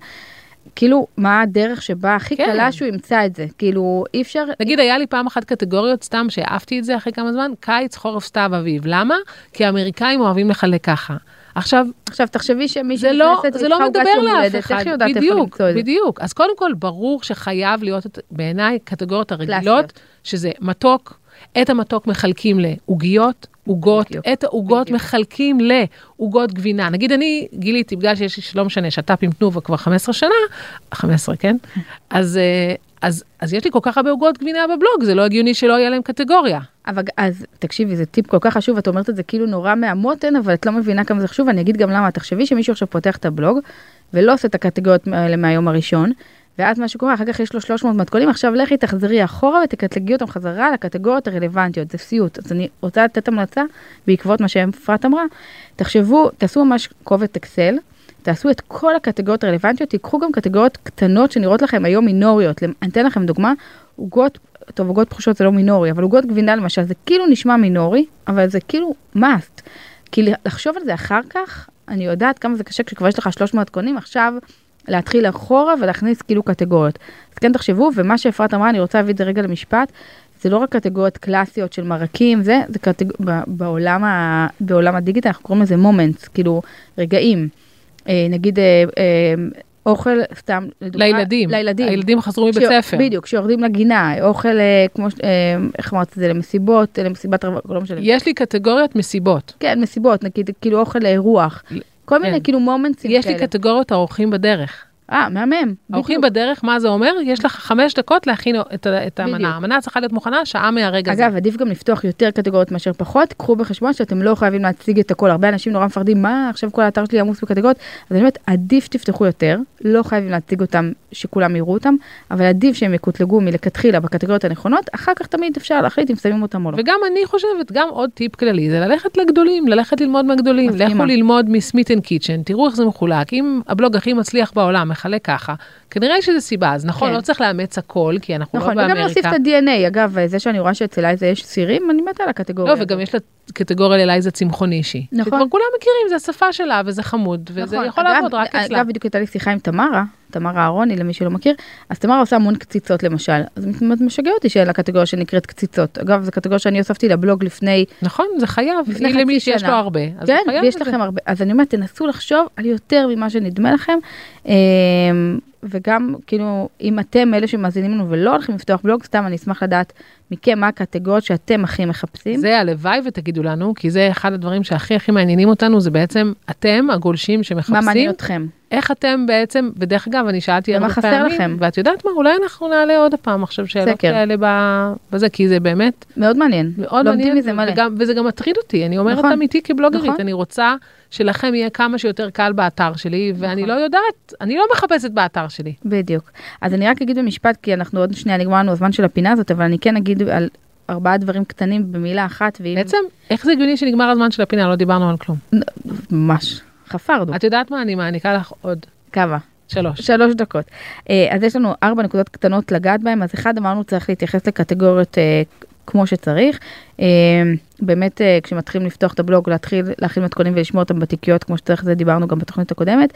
כאילו, מה הדרך שבה הכי
כן.
קלה שהוא ימצא את זה. כאילו, אי אפשר...
נגיד, היה לי פעם אחת קטגוריות, סתם שהעפתי את זה אחרי כמה זמן, קיץ, חורף, סתיו, אביב. למה? כי האמריקאים אוהבים לחלק ככה. עכשיו,
עכשיו, תחשבי שמי
זה לא,
שנכנסת
זה לא
עוגת
מדבר
יום
לאף
הולדת,
אחד,
איך היא יודעת איפה
בדיוק,
למצוא את זה?
בדיוק. אז קודם כל, ברור שחייב להיות את- בעיניי קטגוריות הרגילות,
קלאסיות.
שזה מתוק, את המתוק מחלקים לעוגיות, עוגות,
בדיוק,
את העוגות
בדיוק.
מחלקים לעוגות גבינה. נגיד אני גיליתי, בגלל שיש לי, לא משנה, שת"פ עם תנובה כבר 15 שנה, 15, כן? אז, אה, אז, אז יש לי כל כך הרבה עוגות גבינה בבלוג, זה לא הגיוני שלא יהיה להם קטגוריה.
אבל אז תקשיבי זה טיפ כל כך חשוב את אומרת את זה כאילו נורא מהמותן אבל את לא מבינה כמה זה חשוב אני אגיד גם למה תחשבי שמישהו עכשיו פותח את הבלוג ולא עושה את הקטגוריות האלה מהיום הראשון ואז מה שקורה אחר כך יש לו 300 מתכונים עכשיו לכי תחזרי אחורה ותקטלגי אותם חזרה לקטגוריות הרלוונטיות זה סיוט אז אני רוצה לתת המלצה בעקבות מה שאפרת אמרה תחשבו תעשו ממש קובץ אקסל. תעשו את כל הקטגוריות הרלוונטיות, תיקחו גם קטגוריות קטנות שנראות לכם היום מינוריות. למ- אני אתן לכם דוגמה, עוגות, טוב עוגות פחושות זה לא מינורי, אבל עוגות גבינה למשל זה כאילו נשמע מינורי, אבל זה כאילו must. כי לחשוב על זה אחר כך, אני יודעת כמה זה קשה כשכבר יש לך 300 קונים, עכשיו להתחיל אחורה ולהכניס כאילו קטגוריות. אז כן תחשבו, ומה שאפרת אמרה, אני רוצה להביא את זה רגע למשפט, זה לא רק קטגוריות קלאסיות של מרקים, זה, זה קטג... ב- בעולם, ה... בעולם הדיגיטל, אנחנו קוראים לזה מומנטס, כאילו רגעים. אה, נגיד אה, אה, אוכל, סתם לדוגמה,
לילדים.
לילדים.
הילדים חזרו מבית
כשיר-
ספר.
בדיוק, כשיורדים לגינה, אוכל, אה, כמו, ש- אה, איך אמרת את זה, למסיבות, אה, למסיבת רווק, לא משנה.
יש לי קטגוריות מסיבות.
כן, מסיבות, נגיד, כאילו אוכל אה, רוח. כל מיני
כן.
כאילו מומנטים כאלה.
יש לי קטגוריות האורחים בדרך.
אה, מהמם.
האורחים
בדיוק.
בדרך, מה זה אומר? יש לך חמש דקות להכין את ה- את
בדיוק.
המנה. המנה צריכה להיות מוכנה שעה מהרגע הזה.
אגב, עדיף גם לפתוח יותר קטגוריות מאשר פחות, קחו בחשבון שאתם לא חייבים להציג את הכל, הרבה אנשים נורא מפחדים, מה עכשיו כל האתר שלי עמוס בקטגוריות, אז אני אומרת, עדיף שתפתחו יותר, לא חייבים להציג אותם, שכולם יראו אותם, אבל עדיף שהם יקוטלגו מלכתחילה בקטגוריות הנכונות, אחר כך תמיד אפשר להחליט אם שמים אותם או לא.
וגם אני חושבת, גם עוד טיפ כללי, זה ללכת לגדולים, ללכת ללמוד מהגדולים.
מסכימה.
לכו ללמוד מסמית אנד קיצ'ן, תראו איך זה מחולק. אם הבלוג הכי מצליח בעולם מחלק ככה, כנראה יש איזה סיבה, אז נכון,
כן.
לא צריך לאמץ הכל, כי אנחנו לא
נכון, וגם להוסיף
באמריקה.
את ה-DNA, אגב, זה שאני רואה שאצל איזה יש סירים, אני מתה על הקטגוריה.
לא, וגם יש לה קטגוריה ללייזה צמחוני אישי.
נכון.
שכבר כולם מכירים, זה השפה שלה, וזה חמוד, וזה
נכון,
יכול
אגב,
לעבוד רק אצלה.
אגב, בדיוק הייתה לי שיחה עם תמרה, תמרה אהרוני, למי שלא מכיר, אז תמרה עושה המון קציצות למשל, אז מאוד משגע אותי שאין לה קטגוריה שנקראת קציצות. אגב, זו קטגוריה שאני הוספתי לבלוג לפני,
נכון, זה חייב.
לפני
היא
חצי
למי שיש
שנה.
לו הרבה. אז זה
כן,
חייב
ויש
את זה.
לכם הרבה, אז אני אומרת, תנסו לחשוב על יותר ממה שנדמה לכם, אמ, וגם, כאילו, אם אתם אלה שמאזינים לנו ולא הולכים לפתוח בלוג, סתם אני אשמח לדעת מכם מה הקטגוריות שאתם הכי מחפשים.
זה הלוואי ותגידו לנו, כי זה אחד הדברים שהכי הכי מעניינים אותנו, זה בעצם אתם, הגולשים
מה
שמחפשים,
מעניין אתכם?
איך אתם בעצם, ודרך אגב, אני שאלתי
ומה
הרבה
חסר
פעמים,
לכם?
ואת יודעת מה, אולי אנחנו נעלה עוד פעם עכשיו שאלות
סקר.
כאלה ב- בזה, כי זה באמת
מאוד מעניין.
מאוד
לומדים
מעניין,
מזה מלא.
וגם, וזה גם מטריד אותי, אני אומרת
נכון.
אמיתי כבלוגרית,
נכון.
אני רוצה שלכם יהיה כמה שיותר קל באתר שלי, ואני
נכון.
לא יודעת, אני לא מחפשת באתר שלי.
בדיוק. אז אני רק אגיד במשפט, כי אנחנו עוד שנייה נגמר לנו הזמן של הפינה הזאת, אבל אני כן אגיד על ארבעה דברים קטנים במילה אחת, ואם...
בעצם, איך זה הגיוני שנגמר הזמן של הפינה, לא דיברנו על כלום.
ממש. חפרנו.
את יודעת מה, אני מעניקה לך עוד
כמה?
שלוש.
שלוש דקות. אה, אז יש לנו ארבע נקודות קטנות לגעת בהן, אז אחד אמרנו צריך להתייחס לקטגוריות אה, כמו שצריך. אה, באמת אה, כשמתחילים לפתוח את הבלוג להתחיל להכין מתכונים ולשמור אותם בתיקיות כמו שצריך, זה דיברנו גם בתוכנית הקודמת.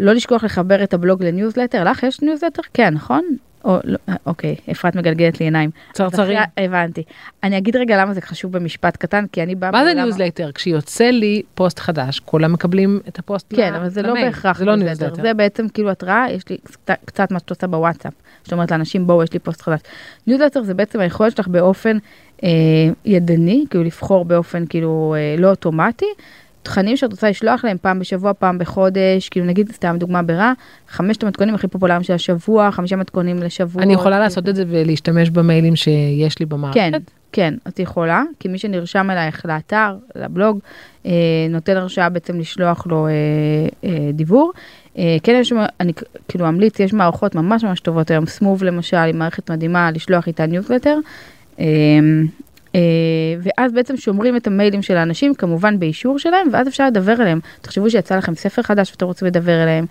לא לשכוח לחבר את הבלוג לניוזלטר, לך יש ניוזלטר? כן, נכון? או, לא, אה, אוקיי, אפרת מגלגלת לי עיניים.
צרצרים.
אחרי- הבנתי. אני אגיד רגע למה זה חשוב במשפט קטן, כי אני באה...
מה זה
מעולם-
ניוזלייטר? כשיוצא לי פוסט חדש, כולם מקבלים את הפוסט
כן,
ל-
אבל זה לא
למייל.
בהכרח
זה לא
ניוזלטר.
ניוזלייטר.
זה בעצם כאילו התראה, יש לי קצת- קצת מה שאת עושה בוואטסאפ. זאת אומרת לאנשים, בואו, יש לי פוסט חדש. ניוזלטר זה בעצם היכולת שלך באופן אה, ידני, כאילו לבחור באופן כאילו אה, לא אוטומטי. תכנים שאת רוצה לשלוח להם פעם בשבוע, פעם בחודש, כאילו נגיד, סתם דוגמה ברע, חמשת המתכונים הכי פופולריים של השבוע, חמישה מתכונים לשבוע.
אני יכולה
כאילו.
לעשות את זה ולהשתמש במיילים שיש לי במערכת?
כן, כן, את יכולה, כי מי שנרשם אלייך לאתר, לבלוג, אה, נותן הרשאה בעצם לשלוח לו אה, אה, דיבור. אה, כן, יש, מ- אני כ- כאילו אמליץ, יש מערכות ממש ממש טובות היום, סמוב למשל, היא מערכת מדהימה לשלוח איתה ניוזלטר. אה, אה, ואז בעצם שומרים את המיילים של האנשים, כמובן באישור שלהם, ואז אפשר לדבר אליהם. תחשבו שיצא לכם ספר חדש ואתם רוצים לדבר אליהם.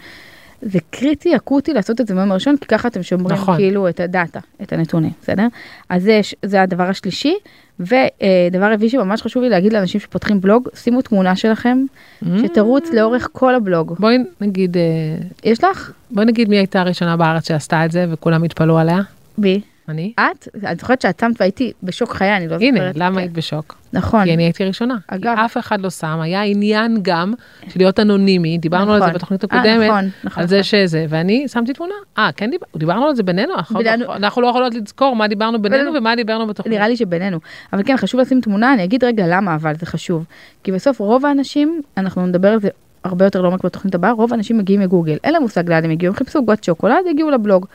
זה קריטי, אקוטי לעשות את זה ביום הראשון, כי ככה אתם שומרים
נכון.
כאילו את הדאטה, את הנתונים, בסדר? אז זה, ש- זה הדבר השלישי. ודבר רביעי שממש חשוב לי להגיד לאנשים שפותחים בלוג, שימו תמונה שלכם,
Mm.
שתרוץ לאורך כל הבלוג.
בואי נגיד, אה,
יש לך?
בואי נגיד מי הייתה הראשונה בארץ שעשתה את זה וכולם התפלאו עליה?
בי.
אני?
את? אני זוכרת שאת שמת והייתי בשוק חיי, אני לא זוכרת.
הנה, למה
כן.
היית בשוק?
נכון.
כי אני הייתי ראשונה.
אגב.
כי אף אחד לא שם, היה עניין גם של להיות אנונימי, דיברנו על זה
נכון.
בתוכנית
אה,
הקודמת,
נכון, נכון.
על זה שזה, ואני שמתי תמונה. אה, כן דיבר- דיברנו על זה בינינו, אנחנו-
בינינו.
אנחנו לא יכולות לזכור מה דיברנו בינינו
בינינו.
ומה דיברנו בתוכנית.
נראה לי שבינינו. אבל כן, חשוב לשים תמונה, אני אגיד רגע למה, אבל זה חשוב. כי בסוף רוב האנשים, אנחנו נדבר על זה הרבה יותר לעומק בתוכנית הבאה, רוב האנשים מגיעים מגוגל, אין להם מושג לאן הם הגיעו, הם חיפשו עוגות שוקולד, הגיעו לבלוג.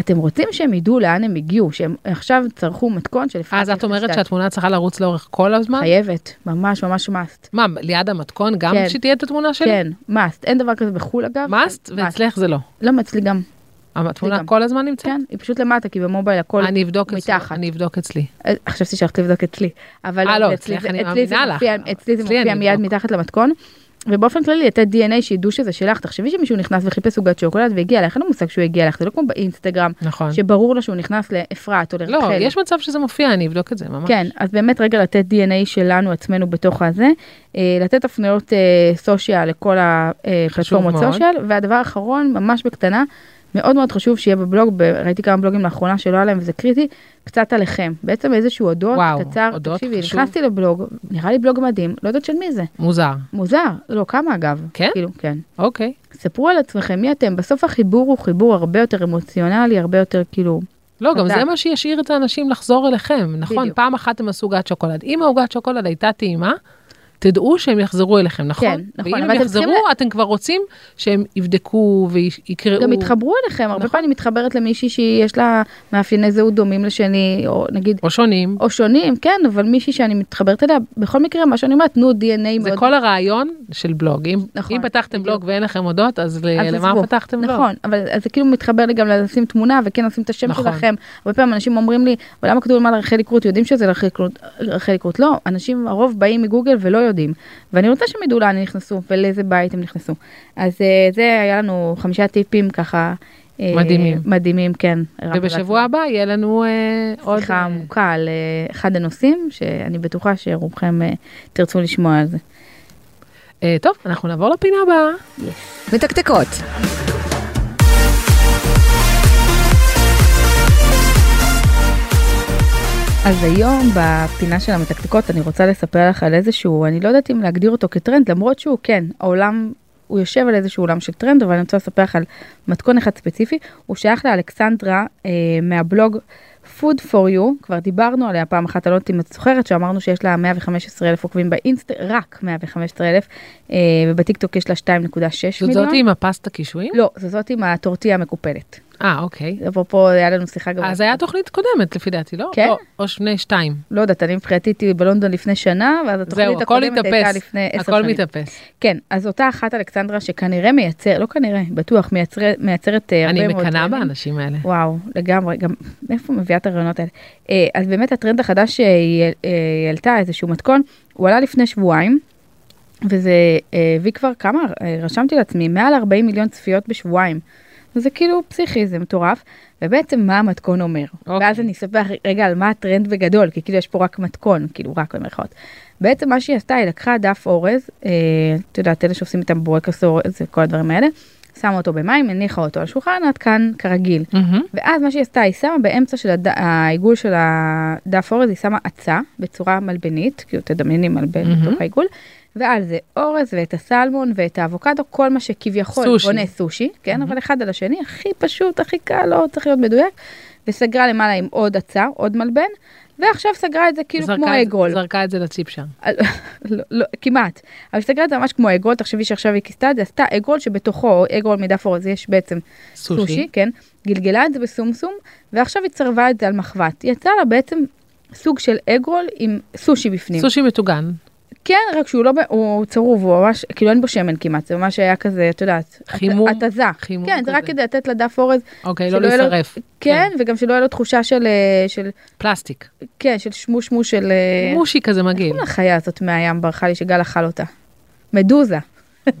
אתם רוצים שהם ידעו לאן הם הגיעו, שהם עכשיו צרכו מתכון של אפרת
אז את אומרת
ליכטנשטיין.
שהתמונה צריכה לרוץ לאורך כל הזמן?
חייבת, ממש ממש must.
מה, ליד המתכון גם
כן.
שתהיה את התמונה שלי?
כן, must. אין דבר כזה בחו"ל אגב.
מאסט, ואצלך זה לא.
למה אצלי גם,
התמונה
גם.
כל הזמן נמצאת?
כן, היא פשוט למטה, כי במובייל הכל...
אני אבדוק אצלי,
מתחת.
אני אבדוק אצלי.
אה, חשבתי שהלכת לבדוק אצלי. אבל
אה, לא,
אצלי
אצלך
זה-
אני
אצלי זה
מאמינה
מופיע-
לך.
אצלי זה
אצלי
מופיע
אני
מיד
אבדוק.
מתחת למתכון. ובאופן כללי לתת DNA שידעו שזה שלך, תחשבי שמישהו נכנס וחיפש עוגת שוקולד והגיע אליך, אין לו מושג שהוא הגיע אליך, זה לא כמו באינסטגרם,
נכון.
שברור לו שהוא נכנס לאפרת או לרחל.
לא, יש מצב שזה מופיע, אני אבדוק את זה, ממש.
כן, אז באמת רגע לתת DNA שלנו עצמנו בתוך הזה, אה, לתת הפניות אה, סושיאל לכל הפלטפורמות
מאוד.
סושיאל, והדבר האחרון, ממש בקטנה, מאוד מאוד חשוב שיהיה בבלוג, ב- ראיתי כמה בלוגים לאחרונה שלא היה להם וזה קריטי, קצת עליכם, בעצם איזשהו אודות
וואו,
קצר,
אודות,
תקשיבי,
חשוב.
נכנסתי לבלוג, נראה לי בלוג מדהים, לא יודעת של מי זה,
מוזר.
מוזר, לא, כמה אגב,
כן?
כאילו, כן.
אוקיי.
ספרו על עצמכם מי אתם, בסוף החיבור הוא חיבור הרבה יותר אמוציונלי, הרבה יותר כאילו,
לא, גם
חזק.
זה מה שישאיר את האנשים לחזור אליכם, נכון?
בדיוק.
פעם אחת הם עשו עוגת שוקולד. אם העוגת שוקולד הייתה טעימה, תדעו שהם יחזרו אליכם, נכון?
כן, נכון,
ואם
אבל
הם
אתם צריכים
יחזרו, אתם כבר רוצים שהם יבדקו ויקראו.
גם התחברו אליכם, הרבה
נכון.
פעמים מתחברת למישהי שיש לה מאפייני זהות דומים לשני, או נגיד,
או שונים.
או שונים, כן, אבל מישהי שאני מתחברת אליה, בכל מקרה, מה שאני אומרת, נו, DNA
זה
מאוד
כל הרעיון של בלוג. אם,
נכון,
אם פתחתם בלוג
בדיוק.
ואין לכם הודות, אז ל-
אז
למה
עזבו.
פתחתם בלוג?
נכון, אבל אז זה כאילו מתחבר לי גם לשים תמונה וכן לשים את השם
נכון.
שלכם. הרבה פעמים אנשים אומרים לי, אבל למה כתוב למעלה רחלי קרוט, יודעים שזה רחלי קרוט? רחלי קרוט. לא, אנשים הרוב באים מגוגל ולא יודעים. ואני רוצה שהם ידעו לאן הם נכנסו ולאיזה בית הם נכנסו. אז אה, זה היה לנו חמישה טיפים ככה. אה,
מדהימים.
מדהימים, כן.
ובשבוע הבא יהיה לנו אה, עוד...
שיחה
אה,
עמוקה על אה, אחד הנושאים, שאני בטוחה שרובכם אה, תרצו לשמוע על זה.
אה, טוב, אנחנו נעבור לפינה הבאה.
מתקתקות,
אז היום בפינה של המתקתקות אני רוצה לספר לך על איזשהו, אני לא יודעת אם להגדיר אותו כטרנד, למרות שהוא כן, העולם, הוא יושב על איזשהו עולם של טרנד, אבל אני רוצה לספר לך על מתכון אחד ספציפי, הוא שייך לאלכסנדרה אה, מהבלוג Food for You, כבר דיברנו עליה פעם אחת, אני לא יודעת אם את זוכרת, שאמרנו שיש לה 115 אלף עוקבים באינסט, רק 115 אלף, אה, ובטיקטוק יש לה 2.6
זאת זאת
מיליון.
עם הפסטה קישואים?
לא, זו זאת עם הטורטיה המקופלת.
אה, אוקיי.
אפרופו, היה לנו שיחה גם.
אז היה תוכנית קודמת לפי דעתי, לא?
לא. כן?
או- או שני שתיים.
לא יודעת, אני מבחינתי הייתי בלונדון לפני שנה, ואז
זהו,
התוכנית
הכל
הקודמת הייתה
מתאפס.
לפני עשר
הכל
שנים.
מתאפס.
כן, אז אותה אחת אלכסנדרה שכנראה מייצר, לא כנראה, בטוח, מייצר, מייצרת אה, הרבה
אני
מאוד...
מקנאה
טרנדים.
באנשים האלה.
וואו, לגמרי, גם מאיפה מביאה את הרעיונות האלה? אה, אז באמת הטרנד החדש שהיא אה, היא העלתה, איזשהו מתכון, הוא עלה לפני שבועיים, וזה אה, הביא כבר כמה, אה, רשמתי לעצמי, מעל 40 מיליון צפיות בשבועיים. זה כאילו פסיכי, זה מטורף, ובעצם מה המתכון אומר.
אוקיי.
ואז אני אספר רגע על מה הטרנד בגדול, כי כאילו יש פה רק מתכון, כאילו רק במרכאות. בעצם מה שהיא עשתה, היא לקחה דף אורז, אה, את יודעת, אלה שעושים איתם בורקס אורז וכל הדברים האלה, שמה אותו במים, הניחה אותו על שולחן, עד כאן כרגיל.
מהמם.
ואז מה שהיא עשתה, היא שמה באמצע של הד... העיגול של הדף אורז, היא שמה עצה בצורה מלבנית, כאילו תדמייני מלבן
מהמם.
mm-hmm. בתוך העיגול, ועל זה אורז ואת הסלמון ואת האבוקדו, כל מה שכביכול
סושי.
בונה סושי, כן,
מהמם.
mm-hmm. אבל אחד על השני, הכי פשוט, הכי קל, לא צריך להיות מדויק, וסגרה למעלה עם עוד עצה, עוד מלבן, ועכשיו סגרה את זה כאילו
זרקה
כמו
את-
אגרול.
זרקה את זה לציפ שם.
לא, לא, כמעט. אבל הסתכלת זה ממש כמו אגרול, תחשבי שעכשיו היא כיסתה את זה, עשתה אגרול שבתוכו, אגרול מדף אורז, יש בעצם סושי,
סושי.
כן, גלגלה את זה בסומסום, ועכשיו היא צרבה את זה על מחבת. יצא לה בעצם סוג של אגרול עם סושי בפנים. סוש...
סושי מטוגן.
כן, רק שהוא לא, ב- הוא צרוב, הוא ממש, כאילו אין בו שמן כמעט, זה ממש היה כזה, את יודעת,
חימום,
הת- התזה.
חימום
כן, זה רק
כזה.
כדי לתת לדף אורז,
אוקיי, לא
שלא יהיה לו-
להישרף.
כן, וגם שלא יהיה לו תחושה של, אה, של,
פלסטיק.
כן, של שמושמוש של... אה,
מושי כזה מגעיל.
כל החיה הזאת מהים ברחה לי שגל אכל אותה. מדוזה.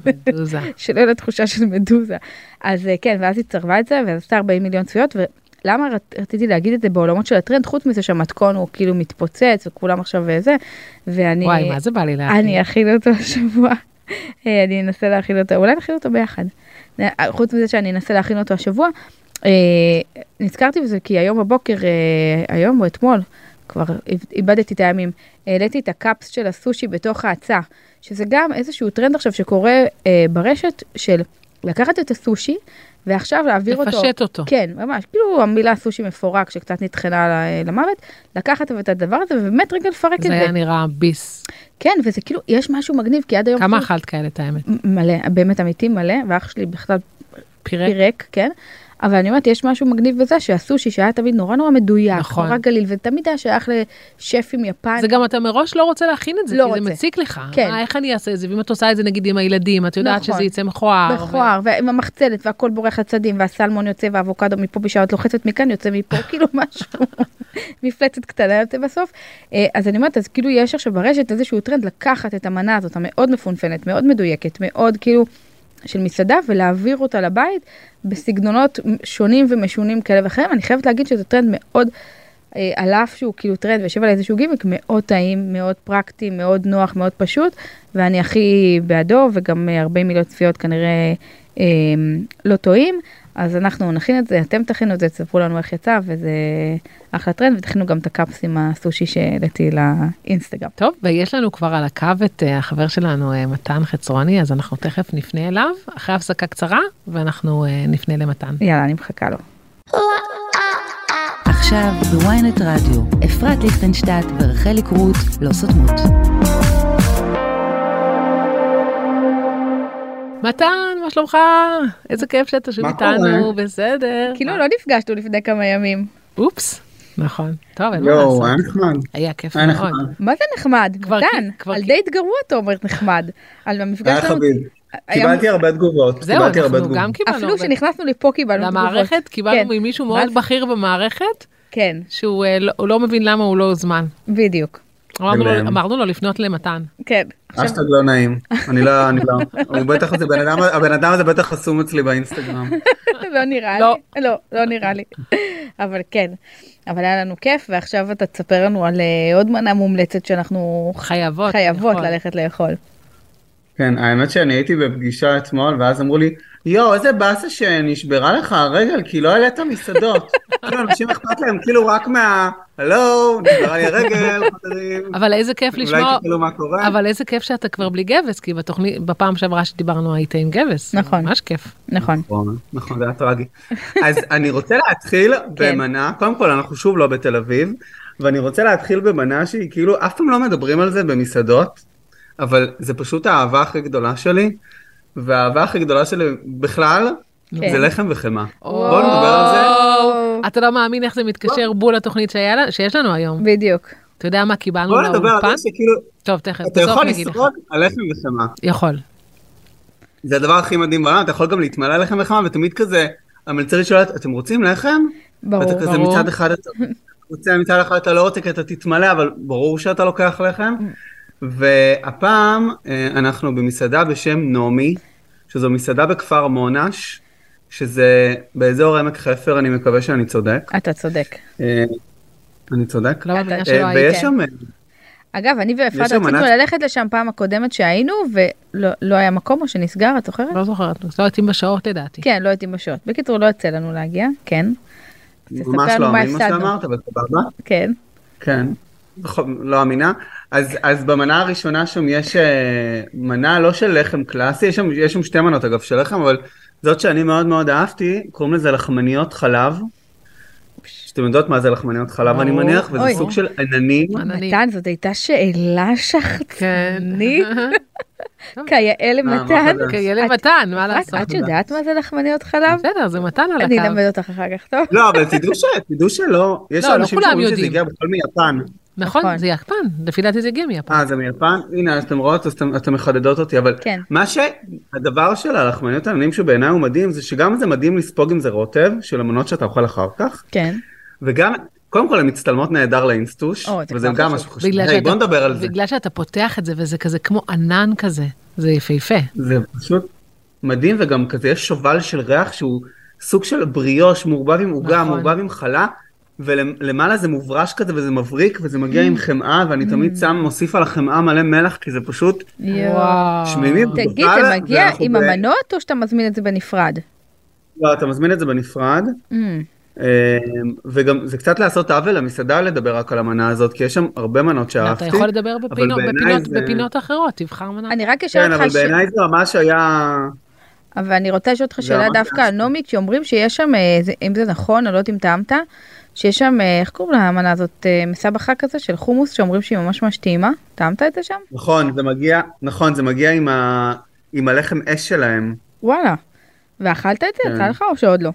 מדוזה.
שלא יהיה לה תחושה של מדוזה. אז אה, כן, ואז היא צרבה את זה, ואז עשתה 40 מיליון צפיות, ולמה רצ- רציתי להגיד את זה בעולמות של הטרנד, חוץ מזה שהמתכון הוא כאילו מתפוצץ, וכולם עכשיו אה, זה, ואני...
וואי, מה זה בא לי להכין?
אני אכיל אותו השבוע. אה, אני אנסה להכיל אותו, אולי נכין אותו ביחד. אה, חוץ מזה שאני אנסה להכין אותו השבוע, אה, נזכרתי בזה כי היום בבוקר, אה, היום או אתמול, כבר איב- איבדתי את הימים, העליתי את הקאפס של הסושי בתוך האצה, שזה גם איזשהו טרנד עכשיו שקורה אה, ברשת של לקחת את הסושי ועכשיו להעביר אותו.
לפשט אותו.
כן, ממש, כאילו המילה סושי מפורק שקצת נטחנה ל- למוות, לקחת את הדבר הזה ובאמת רגע לפרק את זה.
זה היה נראה ביס.
כן, וזה כאילו, יש משהו מגניב, כי עד היום...
כמה
כאילו-
אכלת כאלה את האמת?
מ- מלא, באמת אמיתי מלא, ואח שלי בכלל
פירה?
פירק, כן? אבל אני אומרת, יש משהו מגניב בזה שהסושי שהיה תמיד נורא נורא מדויק,
נכון.
נורא גליל, ותמיד היה שייך לשפים יפנים.
זה גם אתה מראש לא רוצה להכין את זה,
לא
כי זה
רוצה.
מציק לך.
כן.
מה, איך אני אעשה את זה? ואם את עושה את זה נגיד עם הילדים, את יודעת
נכון.
שזה יצא מכוער. ו-
מכוער, ועם המחצלת, והכל בורח לצדים, והסלמון יוצא, והאבוקדו מפה בשעה, את לוחצת מכאן, יוצא מפה, כאילו משהו, מפלצת קטנה יוצא בסוף. אה, אז אני אומרת, אז כאילו יש עכשיו ברשת איזשהו טרנד לקחת את המנה הזאת, המאוד מפונפנת, מאוד מדויקת, מאוד כאילו של מסעדה, ולהעביר אותה לבית בסגנונות שונים ומשונים כאלה ואחרים. אני חייבת להגיד שזה טרנד מאוד... אה, על אף שהוא כאילו טרנד ויושב על איזשהו גימיק מאוד טעים, מאוד פרקטי, מאוד נוח, מאוד פשוט, ואני הכי בעדו, וגם אה, 40 מיליון צפיות כנראה אה, לא טועים, אז אנחנו נכין את זה, אתם תכינו את זה, תספרו לנו איך יצא, וזה אחלה טרנד, ותכינו גם את הקאפס עם הסושי שהעליתי לאינסטגרם.
טוב, ויש לנו כבר על הקו את אה, החבר שלנו אה, מתן חצרוני, אז אנחנו תכף נפנה אליו, אחרי הפסקה קצרה, ואנחנו אה, נפנה למתן.
יאללה, אני מחכה לו.
עכשיו בוויינט רדיו, אפרת ליכטנשטט ורחלי קרוט לא סותמות.
מתן, מה שלומך? איזה כיף שאתה שם
מה
איתנו,
קורה?
בסדר.
כאילו לא נפגשנו לפני כמה ימים.
אופס, נכון. טוב, אין מה
יואו, אה, נכון. היה
לעשות. נכון.
נחמד.
היה כיף
היה נחמד.
מאוד.
מה זה נחמד?
כבר
מתן,
כי- כבר
על
כי-
דייט גרוע אתה אומר נחמד. על המפגש
היה
שלנו-
חביב.
היה-
קיבלתי הרבה תגובות.
זהו,
קיבלתי
אנחנו
הרבה תגובות.
גם כאילו קיבלנו
אפילו
הרבה.
כשנכנסנו לפה קיבלנו תגובות.
למערכת
כן,
קיבלנו ממישהו
מה
מאוד
זה?
בכיר במערכת,
כן,
שהוא אה, לא- הוא לא מבין למה הוא לא הוזמן.
בדיוק.
אמרנו לו-
להם.
אמרנו לו לפנות למתן.
כן. עכשיו-
אשטג לא נעים. אני לא, אני לא. הוא בטח, זה בן אדם, הבן אדם הזה בטח חסום אצלי באינסטגרם.
לא נראה
לא.
לי. לא, לא נראה לי. אבל כן. אבל היה לנו כיף, ועכשיו אתה תספר לנו על אה, עוד מנה מומלצת שאנחנו
חייבות.
חייבות
נכון.
ללכת לאכול.
כן, האמת שאני הייתי בפגישה אתמול, ואז אמרו לי, יואו, איזה באסה שנשברה לך הרגל, כי לא העלית מסעדות. כאילו, אנשים אכפת להם, כאילו, רק מה... הלו, נשברה לי הרגל, חברים.
אבל איזה כיף
אולי
לשמוע,
תשאלו מה קורה.
אבל איזה כיף שאתה כבר בלי גבס, כי בתוכנית, בפעם שעברה שדיברנו היית עם גבס.
נכון.
ממש כיף.
נכון.
נכון, נכון, זה היה טרגי. אז אני רוצה להתחיל במנה, קודם כל אנחנו שוב לא בתל אביב, ואני רוצה להתחיל במנה שהיא כאילו, אף פעם לא מדברים על זה במסעדות, אבל זה פשוט האהבה הכי גדולה שלי, והאהבה הכי גדולה שלי בכלל,
כן.
זה לחם וחמאה.
וואו.
בואו נדבר על זה.
וואו.
אתה לא מאמין איך זה מתקשר בול לתוכנית שהיה לה- שיש לנו היום.
בדיוק.
אתה יודע מה קיבלנו
בואו נדבר על
מהאולפן?
זה שכאילו,
טוב, תכף,
אתה
בסוף
יכול
נגיד לך.
לשרוד על לחם וחמאה.
יכול.
זה הדבר הכי מדהים בעולם, אתה יכול גם להתמלא לחם וחמאה, ותמיד כזה, המלצרית שואלת, אתם רוצים לחם?
ברור.
ואתה כזה
ברור.
מצד אחד אתה רוצה, מצד אחד אתה לא רוצה כי אתה תתמלא, אבל ברור שאתה לוקח לחם.
Mm.
והפעם אה, אנחנו במסעדה בשם נעמי, שזו מסעדה בכפר מונש, שזה באזור עמק חפר, אני מקווה שאני צודק.
אתה צודק.
אה, אני צודק?
לא מאמינה
אתה-
שלא
אה,
היית.
ויש שם, אה,
אגב, אני ואפרת
יש שם
רצינו
מנת-
ללכת לשם פעם הקודמת שהיינו, ולא לא היה מקום או שנסגר, את זוכרת?
לא זוכרת, לא הייתי בשעות לדעתי.
כן, לא הייתי בשעות. בקיצור, לא יוצא לנו להגיע, כן.
ממש
תספר לנו
לא
מה
אמין מה
הפסדנו.
שאמרת, אבל סבבה.
כן.
כן, בכל- לא אמינה. אז, אז במנה הראשונה שם יש אה, מנה לא של לחם קלאסי, יש שם, יש שם שתי מנות אגב של לחם, אבל זאת שאני מאוד מאוד אהבתי, קוראים לזה לחמניות חלב. שאתם יודעות מה זה לחמניות חלב אני
ברור.
מניח, וזה
אוי.
סוג של עננים.
אני-
מתן, זאת הייתה שאלה שחצנית, כיאה
לא, מה, מה
למתן.
חדש?
כן. כן, ילד
את-
מתן, מה
אפרת,
לעשות?
את יודעת מה זה לחמניות חלב?
בסדר, זה מתן על
אני
הקו.
אלמד אותך אחר כך, טוב?
לא, אבל תדעו, ש, תדעו שלא, יש
לא, לא
אנשים
כולם
שאומרים שזה
יודעים.
הגיע בכלל מיפן.
נכון,
נכון.
זה יפן, לפי דעתי זה הגיע מיפן.
אה, זה מיפן? הנה, אז אתם רואות, אז אתם- אתם מחדדות אותי, אבל
כן.
מה שהדבר של הלחמניות העננים שבעיניי הוא מדהים, זה שגם זה מדהים לספוג עם זה רוטב, של המנות שאתה אוכל אחר כך,
כן.
וגם, קודם כל, הן מצטלמות נהדר לאינסטוש,
או, זה
וזה
כבר
גם
חשוב.
משהו חשוב. אה, היי, בוא נדבר על זה.
בגלל שאתה פותח את זה וזה כזה כמו ענן כזה, זה יפהפה.
זה פשוט מדהים, וגם כזה יש שובל של ריח שהוא סוג של בריאוש, מעורבב עם עוגה,
נכון.
מעורבב עם חלה, ולמעלה זה מוברש כזה וזה מבריק, וזה מגיע עם חמאה, ואני תמיד שם, מוסיף על החמאה מלא מלח, כי זה פשוט
יואו.
שמימים.
תגיד,
בכלל,
זה מגיע
ואנחנו
עם
ב-
המנות או שאתה מזמין את זה בנפרד?
לא, אתה מזמין את זה בנפרד,
Mm,
אמ, וגם זה קצת לעשות עוול למסעדה לדבר רק על המנה הזאת, כי יש שם הרבה מנות שאהבתי.
לא, אתה יכול לדבר בפינות-
בעיניי
בפינות-
זה-
בפינות אחרות, תבחר מנה.
אני רק אשאל
כן,
אותך,
אבל
ש-
בעיניי זה ממש היה...
אבל אני רוצה לשאול אותך
זה
שאלה
ממש
דווקא
ממש
על נעמי, כשאומרים שיש שם, אה, זה- אם זה נכון, אני לא יודעת אם טעמת, שיש שם, אה, איך קוראים למנה הזאת, אה, מסבכה כזה של חומוס, שאומרים שהיא ממש ממש טעימה, טעמת את זה שם?
נכון, זה מגיע, נכון, זה מגיע עם, ה... עם הלחם אש שלהם.
וואלה. ואכלת את זה?
כן.
יצא לך או שעוד לא?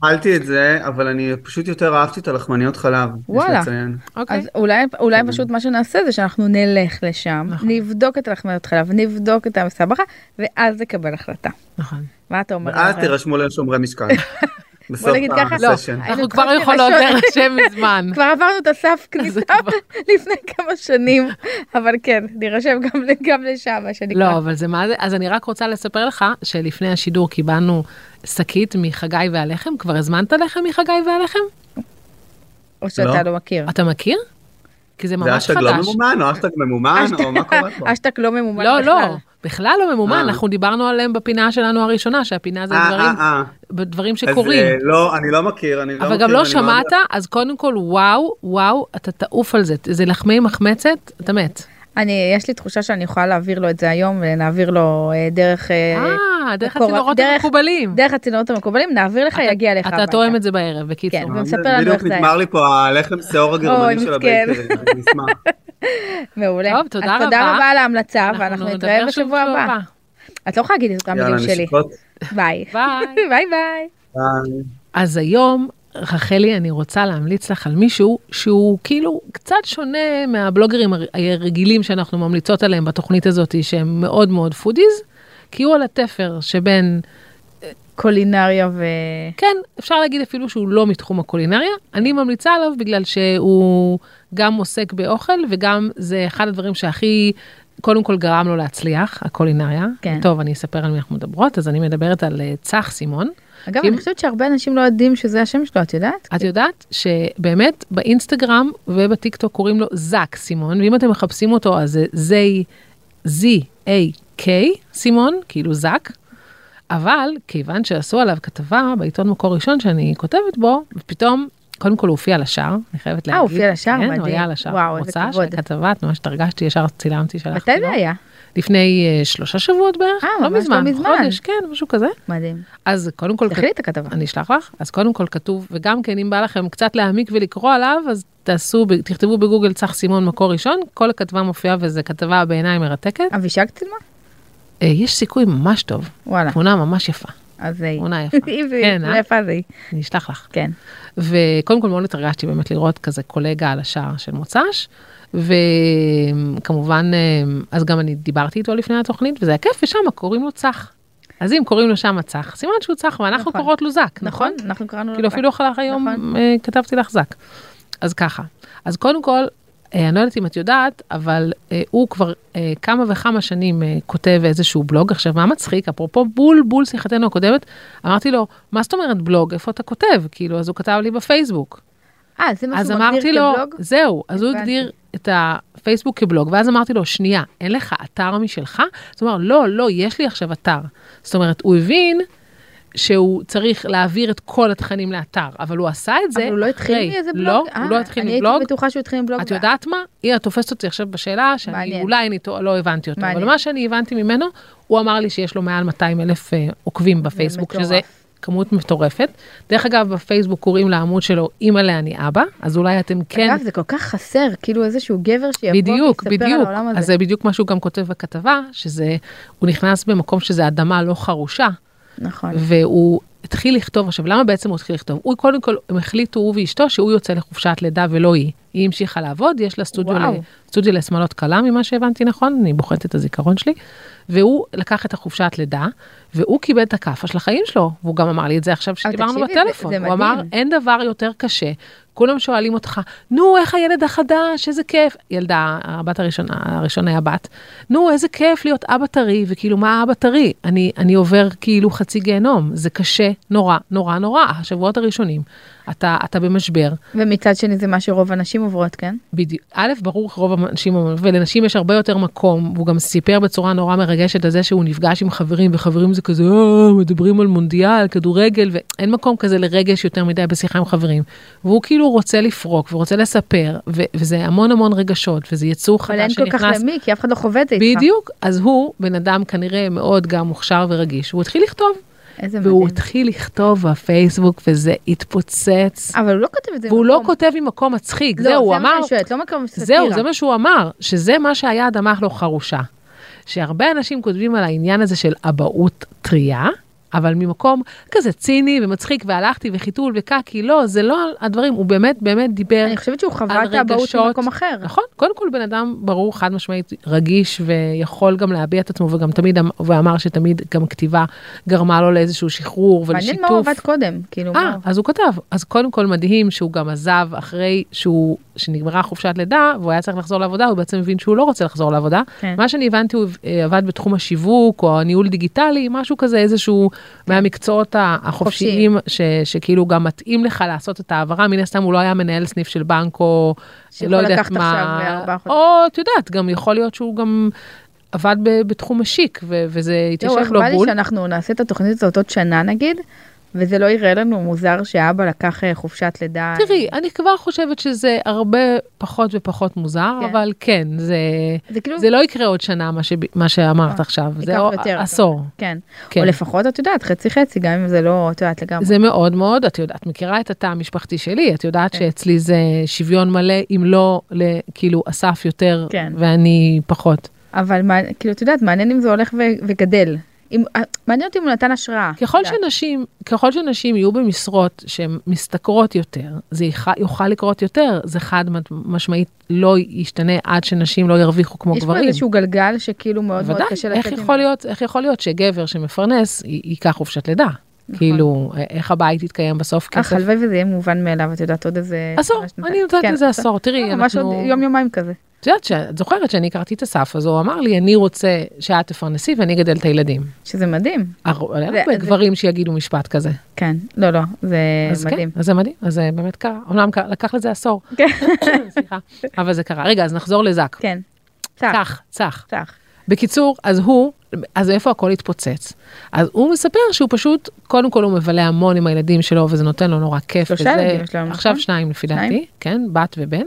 אכלתי את זה, אבל אני פשוט יותר אהבתי את הלחמניות חלב. יש
וואלה.
לציין.
אוקיי.
אז אולי, אולי פשוט מה שנעשה זה שאנחנו נלך לשם,
נכון.
נבדוק את הלחמניות חלב, נבדוק את המסבכה, ואז נקבל החלטה.
נכון.
מה אתה אומר? אה,
ואז
אורן?
תירשמו לשומרי משקל. בסוף
נגיד ככה,
לא,
הסשן.
אנחנו
היינו
כבר
צריכים
יכולות
לשאול.
להירשם מזמן.
כבר עברנו את הסף כניסה לפני כמה שנים, אבל כן, נירשם גם, גם לשם, מה שנקרא.
לא, אבל זה מה זה, אז אני רק רוצה לספר לך שלפני השידור קיבלנו שקית מחגי והלחם, כבר הזמנת לחם מחגי והלחם?
או שאתה
לא.
לא מכיר.
אתה מכיר? כי זה
זה
ממש
אשטג לא
חדש.
ממומן, או אשטג ממומן, או אה, מה קורה פה?
אשטק לא ממומן
לא, לא,
בכלל.
בכלל לא ממומן,
אה.
אנחנו דיברנו עליהם בפינה שלנו הראשונה, שהפינה זה
אה,
דברים,
אה, אה.
דברים
אז,
שקורים.
אה, לא, אני לא מכיר, אני לא מכיר.
אבל גם לא
אני מאוד-
שמעת, אז קודם כל, וואו, וואו, אתה תעוף על זה. זה לחמי מחמצת, אתה מת.
אני, יש לי תחושה שאני יכולה להעביר לו את זה היום, ונעביר לו אה, דרך... אה,
אה, דרך
הקור-
הצינורות
דרך-
המקובלים.
דרך הצינורות המקובלים, נעביר לך,
אתה-
יגיע לך.
אתה תואם את זה בערב, בקיצור.
כן. ומספר לנו איך
אה, בדיוק
זה היה.
נגמר לי פה הלחם שיעור הגרמני של
מסכן.
הבייקרים, אני אשמח.
מעולה.
טוב, תודה
אז תודה
רבה.
רבה על ההמלצה,
אנחנו
ואנחנו
נדבר
נתראה
שוב
בשבוע הבא. את לא יכולה להגיד את אותם
יאללה,
מילים שלי.
נשיקות.
ביי.
ביי.
ביי ביי.
ביי.
אז היום, רחלי, אני רוצה להמליץ לך על מישהו שהוא כאילו קצת שונה מהבלוגרים הר- הרגילים שאנחנו ממליצות עליהם בתוכנית הזאת, שהם מאוד מאוד פודיז, כי הוא על התפר שבין,
קולינריה ו...
כן, אפשר להגיד אפילו שהוא לא מתחום הקולינריה, אני ממליצה עליו בגלל שהוא גם עוסק באוכל וגם זה אחד הדברים שהכי... קודם כל גרם לו להצליח, הקולינריה.
כן.
טוב, אני אספר על מי אנחנו מדברות, אז אני מדברת על אה, צח סימון.
אגב,
אם-
אני חושבת שהרבה אנשים לא יודעים שזה השם שלו, את יודעת?
את יודעת שבאמת באינסטגרם ובטיקטוק קוראים לו זאק סימון, ואם אתם מחפשים אותו אז זה זי, זי, איי, קיי סימון, כאילו זאק. אבל כיוון שעשו עליו כתבה בעיתון מקור ראשון שאני כותבת בו, פתאום, קודם כל הוא הופיע על השער, אני חייבת להגיד.
אה, הוא הופיע על השער?
כן, הוא
מדהים.
היה על השער.
וואו, איזה
מוצא
כבוד.
של הכתבה, את ממש התרגשתי, ישר צילמתי, שלחתי
מתי
לו.
זה היה?
לפני אה, שלושה שבועות בערך,
אה,
לא
ממש לא
מזמן,
מזמן.
חודש, כן, משהו כזה.
מדהים.
אז קודם כל,
תחליט את הכתבה.
אוקיי. אני אשלח לך. אז קודם כל כתוב, וגם כן, אם בא לכם קצת להעמיק ולקרוא עליו, אז תעשו, ב- תכתבו בגוגל צח סימון מקור ראשון, כל הכתבה מופיעה וזו כתבה בעיניי מרתקת.
אבישג צילמה?
אה, יש סיכוי ממש טוב,
וואלה.
תמונה ממש יפה,
אז זה היא.
תמונה יפה.
אם זה
כן, אה?
יפה זה היא.
אני אשלח לך.
כן.
וקודם כל מאוד התרגשתי באמת לראות כזה קולגה על השער של מוצ"ש, וכמובן, אה, אז גם אני דיברתי איתו לפני התוכנית, וזה היה כיף, ושם קוראים לו צח. אז אם קוראים לו שם צח, סימן שהוא צח, ואנחנו
נכון.
קוראות לו זק,
נכון? אנחנו קראנו לו...
כאילו
כך.
אפילו אחר היום
נכון.
אה, כתבתי לך זק. אז ככה, אז קודם כל, אה, אני לא יודעת אם את יודעת, אבל אה, הוא כבר אה, כמה וכמה שנים אה, כותב איזשהו בלוג. עכשיו, מה מצחיק? אפרופו בול בול שיחתנו הקודמת, אמרתי לו, מה זאת אומרת בלוג? איפה אתה כותב? כאילו, אז הוא כתב לי בפייסבוק.
אה, זה מה
אז
שהוא מגדיר
אמרתי לו,
כבלוג?
זהו, אז הוא
הבנתי.
הגדיר את הפייסבוק כבלוג, ואז אמרתי לו, שנייה, אין לך אתר משלך? זאת אומרת, לא, לא, יש לי עכשיו אתר. זאת אומרת, הוא הבין שהוא צריך להעביר את כל התכנים לאתר, אבל הוא עשה את זה
אבל הוא לא
אחרי.
התחיל מאיזה בלוג?
לא,
אה,
הוא לא התחיל
אני
מבלוג.
הייתי בטוחה שהוא התחיל מבלוג.
את יודעת מה? היא, את תופסת אותי עכשיו בשאלה, שאני
לא מעניין.
אולי אני טוע- לא הבנתי אותו, אבל
מעניין.
מה שאני הבנתי ממנו, הוא אמר לי שיש לו מעל 200 אלף אה, עוקבים בפייסבוק,
מטורף.
שזה כמות מטורפת. דרך אגב, בפייסבוק קוראים לעמוד שלו אימא לאני אבא, אז אולי אתם כן...
אגב, זה כל כך חסר, כאילו איזשהו גבר שיבוא
בדיוק,
ויספר על
בדיוק.
העולם הזה.
אז זה בדיוק מה שהוא גם כותב בכתבה, שזה, הוא נכנס במקום שזה אדמה לא חרושה,
נכון.
והוא התחיל לכתוב, עכשיו למה בעצם הוא התחיל לכתוב? הוא קודם כל, הם החליטו, הוא ואשתו, שהוא יוצא לחופשת לידה ולא היא. היא המשיכה לעבוד, יש לה סטודיו,
וואו.
ל- סטודיו לשמלות קלה ממה שהבנתי נכון, אני בוחנת את הזיכרון שלי. והוא לקח את החופשת לידה, והוא קיבל את הכאפה של החיים שלו, והוא גם אמר לי את זה עכשיו שדיברנו
תקשיבי, זה-
בטלפון.
זה
הוא אמר,
מדהים.
אין דבר יותר קשה. כולם שואלים אותך, נו, איך הילד החדש, איזה כיף. ילדה, הבת הראשונה, הראשון היה בת, נו, איזה כיף להיות אבא טרי, וכאילו, מה אבא טרי? אני, אני עובר כאילו חצי גיהנום, זה קשה נורא, נורא, נורא. השבועות הראשונים, אתה, אתה במשבר.
ומצד שני זה מה שרוב הנשים עוברות, כן?
בדיוק. א', ברור שרוב הנשים, ולנשים יש הרבה יותר מקום, והוא גם סיפר בצורה נורא מרגשת על זה שהוא נפגש עם חברים, וחברים זה כזה, "אה, מדברים על מונדיאל, כדורגל, ואין מקום כזה לרגש יותר מדי בשיחה עם חברים. והוא כאילו רוצה לפרוק ורוצה לספר, ו- וזה המון המון רגשות, וזה יצור
אבל אין
חדש
כל כך
שנכנס.
למי, כי אף אחד לא חווה את זה איתך.
בדיוק, אז הוא בן אדם כנראה מאוד גם מוכשר ורגיש, הוא התחיל לכתוב,
איזה
והוא
מדהים.
התחיל לכתוב בפייסבוק וזה התפוצץ,
אבל הוא לא כותב את זה
והוא לא
ממקום-
כותב ממקום מצחיק,
לא,
זהו, הוא
זה מה
אמר,
שאני שואלת, לא מקום סאטירה.
זהו, זה מה שהוא אמר, שזה מה שהיה אדמה לא חרושה. שהרבה אנשים כותבים על העניין הזה של אבהות טריה, אבל ממקום כזה ציני ומצחיק, והלכתי וחיתול וקקי, לא, זה לא הדברים, הוא באמת באמת דיבר.
אני חושבת שהוא חווה
על
את האבהות
רגשות.
במקום אחר.
נכון, קודם כל בן אדם ברור, חד משמעית, רגיש ויכול גם להביע את עצמו, וגם תמיד, אמ- ואמר שתמיד גם כתיבה גרמה לו לאיזשהו שחרור ולשיתוף.
מעניין מה הוא עבד קודם, כאילו,
אה,
מה-
אז הוא כתב. אז קודם כל מדהים שהוא גם עזב אחרי שהוא, שנגמרה חופשת לידה, והוא היה צריך לחזור לעבודה, הוא בעצם הבין שהוא לא רוצה לחזור לעבודה.
כן.
מה שאני הבנתי, הוא אה, עבד בתחום השיווק או הניהול דיגיטלי, משהו כזה, איזשהו
כן.
מהמקצועות ה- החופשיים, ש, שכאילו גם מתאים לך לעשות את ההעברה, מן הסתם הוא לא היה מנהל סניף של בנק או
שיכול
לא יודעת
לקחת
מה,
עכשיו לארבעה חודשים.
או את יודעת, גם יכול להיות שהוא גם עבד ב- בתחום משיק, ו- וזה
תראו, איך
התיישב לו
בא לי
בול.
שאנחנו נעשה את התוכנית הזאת עוד שנה נגיד, וזה לא יראה לנו מוזר שאבא לקח אה, חופשת לידה.
תראי, אני כבר חושבת שזה הרבה פחות ופחות מוזר,
כן.
אבל כן, זה,
זה כאילו,
זה לא יקרה עוד שנה, מה, שב, מה שאמרת
נכון.
עכשיו, זה
ייקח
או-
יותר, אבל-
עשור.
כן.
כן.
או לפחות את יודעת, חצי חצי, גם אם זה לא, את יודעת לגמרי.
זה מאוד מאוד, את יודעת, את מכירה את התא המשפחתי שלי, את יודעת
כן.
שאצלי זה שוויון מלא, אם לא, ל- כאילו, אסף יותר,
כן.
ואני פחות.
אבל מה- כאילו, את יודעת, מעניין אם זה הולך ו- וגדל. אם- אה, מעניין אותי אם הוא נתן השראה.
ככל
את יודעת.
שנשים, ככל שנשים יהיו במשרות שהן משתכרות יותר, זה יח- יוכל לקרות יותר, זה חד משמעית לא ישתנה עד שנשים לא ירוויחו כמו
יש פה
גברים.
איזשהו גלגל שכאילו מאוד מאוד
בוודאי,
קשה
איך
לצאת
יכול להיות, איך יכול להיות שגבר שמפרנס י- ייקח חופשת לידה?
נכון.
כאילו, א- איך הבית יתקיים בסוף?
אך,
כסף?
אה, הלוואי וזה יהיה מובן מאליו, את יודעת, עוד איזה...
עשור,
שנה, שנתיים.
אני נותנת
כן,
לזה
עשור.
עשור. תראי,
לא, ממש עוד
אנחנו...
יום-יומיים כזה.
את יודעת, שאת זוכרת שאני הכרתי את אסף, אז הוא אמר לי, אני רוצה שאת תפרנסי ואני אגדל את הילדים.
שזה מדהים.
הר-
זה-
הרבה
זה-
גברים שיגידו משפט כזה.
כן, לא, לא, זה
אז
מדהים.
כן, אז זה מדהים, אז זה באמת קרה. אמנם ק- לקח לזה עשור,
כן.
סליחה, אבל זה קרה. רגע, אז נחזור לזק.
כן. צח,
צח, צח.
צח.
בקיצור, אז הוא, אז איפה הכל התפוצץ? אז הוא מספר שהוא פשוט, קודם כל הוא מבלה המון עם הילדים שלו, וזה נותן לו נורא כיף.
שלושה
וזה-
ילדים יש לנו,
עכשיו
נכון?
שניים לפי
שניים?
דעתי, כן, בת ובן.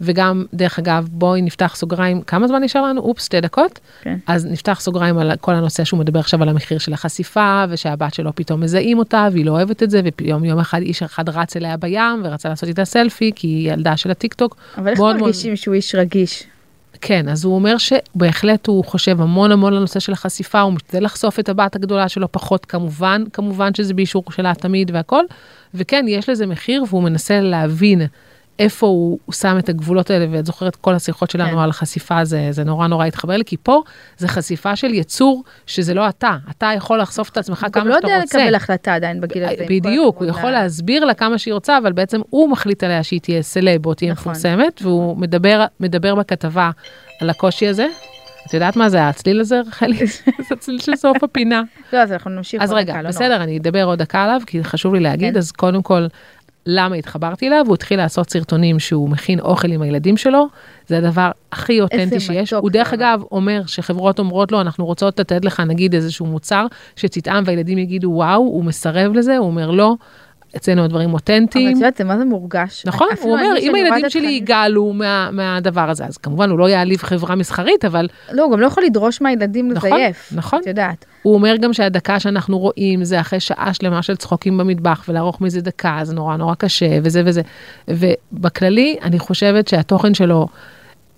וגם, דרך אגב, בואי נפתח סוגריים, כמה זמן נשאר לנו? אופס, שתי דקות.
כן.
אז נפתח סוגריים על כל הנושא שהוא מדבר עכשיו על המחיר של החשיפה, ושהבת שלו פתאום מזהים אותה, והיא לא אוהבת את זה, ופתאום יום אחד איש אחד רץ אליה בים, ורצה לעשות איתה סלפי, כי היא ילדה של הטיקטוק.
אבל איך
מאוד מאוד-
מרגישים שהוא איש רגיש?
כן, אז הוא אומר שבהחלט הוא חושב המון המון על הנושא של החשיפה, הוא משתדל לחשוף את הבת הגדולה שלו פחות כמובן, כמובן שזה באישור שלה תמיד והכל, וכן, יש לזה מחיר והוא מנסה להבין איפה הוא, הוא שם את הגבולות האלה, ואת זוכרת כל השיחות שלנו
כן.
על חשיפה, זה, זה נורא נורא התחבר לי, כי פה זה חשיפה של יצור שזה לא אתה, אתה יכול לחשוף את עצמך
הוא גם
כמה
לא
שאתה
יודע
רוצה.
לקבל החלטה עדיין בגיל הזה. כאילו, עם כל
אה, בדיוק, הוא
הכבוד
יכול
לה-
להסביר לה כמה שהיא רוצה, אבל בעצם הוא מחליט עליה שהיא תהיה סלב או תהיה
נכון.
מפורסמת, והוא מדבר, מדבר בכתבה על הקושי הזה. את יודעת מה זה הצליל הזה, רחלי? זה הצליל של סוף הפינה.
לא, אז אנחנו נמשיך.
אז
עוד
רגע,
דקה, לא נורא.
בסדר, אני אדבר עוד דקה עליו, כי חשוב לי להגיד,
כן.
אז קודם כל, למה התחברתי אליו? הוא התחיל לעשות סרטונים שהוא מכין אוכל עם הילדים שלו, זה הדבר הכי אותנטי שיש.
מתוק
הוא
זה
דרך
ממש.
אגב אומר שחברות אומרות לו, אנחנו רוצות לתת לך נגיד איזשהו מוצר, שתטעם והילדים יגידו וואו, הוא מסרב לזה, הוא אומר לא, אצלנו הדברים
אבל
אותנטיים.
את יודעת, זה מה זה מורגש.
נכון,
אפילו
הוא אומר, אם
אני שאני רואה את
הילדים שלי
התכנים-
יגאלו מה- מהדבר הזה, אז כמובן הוא לא יעליב חברה מסחרית, אבל
לא, הוא גם לא יכול לדרוש מהילדים
נכון,
לזייף.
נכון.
את יודעת.
הוא אומר גם שהדקה שאנחנו רואים זה אחרי שעה שלמה של צחוקים במטבח, ולערוך מזה דקה זה נורא נורא קשה, וזה וזה. ובכללי, אני חושבת שהתוכן שלו,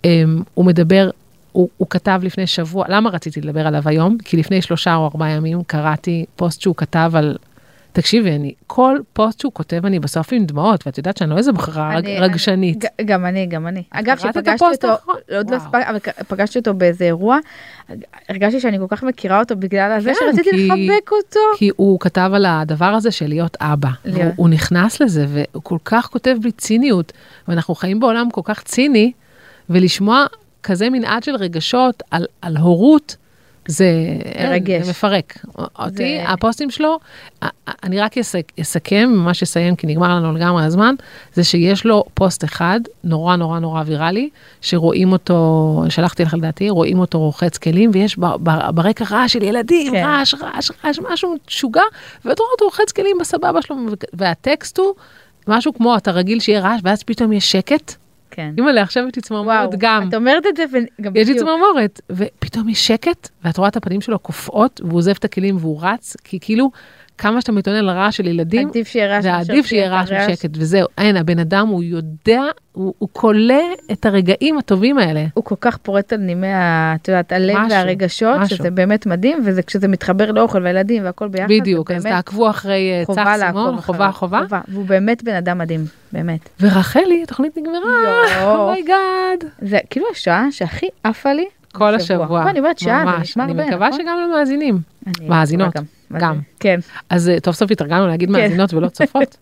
אמ, הוא מדבר, הוא, הוא כתב לפני שבוע, למה רציתי לדבר עליו היום? כי לפני שלושה או ארבעה ימים קראתי פוסט שהוא כתב על... תקשיבי, אני, כל פוסט שהוא כותב, אני בסוף עם דמעות, ואת יודעת שאני לא איזה בחרה רג,
אני-
רגשנית.
ג- גם אני, גם אני. אגב,
קראת את
שפגשתי
הפוסט
אותו,
האחרון?
עוד לא
וואו.
הספק- אבל כ- פגשתי אותו באיזה אירוע, הרגשתי שאני כל כך מכירה אותו בגלל הזה
כן,
שרציתי
כי-
לחבק אותו.
כי הוא כתב על הדבר הזה של להיות אבא.
להיות.
הוא, הוא נכנס לזה, והוא כל כך כותב בלי ציניות, ואנחנו חיים בעולם כל כך ציני, ולשמוע כזה מנעד של רגשות על, על הורות, זה אין,
מרגש.
זה מפרק. אותי, הפוסטים שלו, א- א- אני רק יסק- אסכם, ממש אסיים, כי נגמר לנו לגמרי הזמן, זה שיש לו פוסט אחד, נורא נורא נורא ויראלי, שרואים אותו, שלחתי לך לדעתי, רואים אותו רוחץ כלים, ויש ב- ב- ברקע רעש של ילדים,
כן.
רעש, רעש, רעש, משהו משוגע, ואת רואה אותו רוחץ כלים בסבבה שלו, והטקסט הוא משהו כמו, אתה רגיל שיהיה רעש, ואז פתאום יש שקט.
כן.
אימא'לה, עכשיו יש לי צמרמורת גם.
את אומרת את זה, וגם
יש לי
בדיוק.
צמרמורת, ופתאום יש שקט, ואת רואה את הפנים שלו קופאות, והוא עוזב את הכלים והוא רץ, כי כאילו, כמה שאתה מתאונן על רעש של ילדים,
עדיף שיהיה רעש.
זה
מאשר
עדיף שיהיה רעש
את הרעש.
ושקט, וזהו. אין, הבן אדם, הוא יודע, הוא הוא כולא את הרגעים הטובים האלה.
הוא כל כך פורט על נימי, ה- את יודעת, הלב
משהו,
והרגשות,
משהו.
שזה באמת מדהים, וזה כשזה מתחבר לאוכל והילדים והכל ביחד, זה
בדיוק, אז
באמת
תעקבו אחרי אה,
חובה
צח
לעקוב
סימון, חובה
אחריו.
חובה.
והוא באמת בן אדם מדהים, באמת.
ורחלי, התוכנית נגמרה, Oh
יואו.
אומייגאד.
זה כאילו השעה שהכי עפה לי.
כל השבוע.
אבל אני אומרת שעה, זה
ממש.
נשמע הרבה,
אני מקווה
נכון?
שגם למאזינים.
אני-
מאזינות,
אבל מה
גם.
זה? כן.
אז אה, סוף סוף התרגלנו להגיד מאזינות ולא צופות.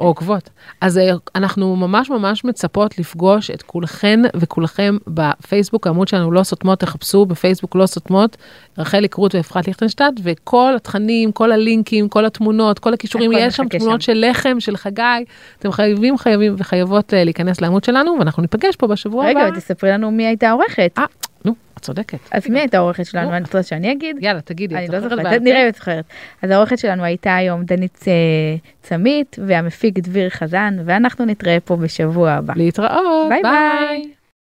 או עוקבות. אז אה, אנחנו ממש ממש מצפות לפגוש את כולכן וכולכם בפייסבוק, העמוד שלנו לא סותמות, תחפשו בפייסבוק לא סותמות, רחלי קרוט ואפרת ליכטנשטט, וכל התכנים, כל הלינקים, כל התמונות, כל הכישורים,
הכל
יש שם
מחכה
תמונות
שם.
של לחם, של חגי, אתם חייבים, חייבים וחייבות אה, להיכנס לעמוד שלנו, ואנחנו ניפגש פה בשבוע הבא.
רגע, ותספרי לנו מי הייתה העורכת.
אה, נו, את צודקת.
אז מי הייתה העורכת שלנו?
נו.
אני רוצה שאני אגיד.
יאללה, תגידי,
אני
את
לא
זוכרת
זוכרת,
בעל
נראה
פה?
אם את זוכרת. אז העורכת שלנו הייתה היום דנית אה, צמית, והמפיק דביר חזן, ואנחנו נתראה פה בשבוע הבא.
להתראות,
ביי,
ביי.
ביי.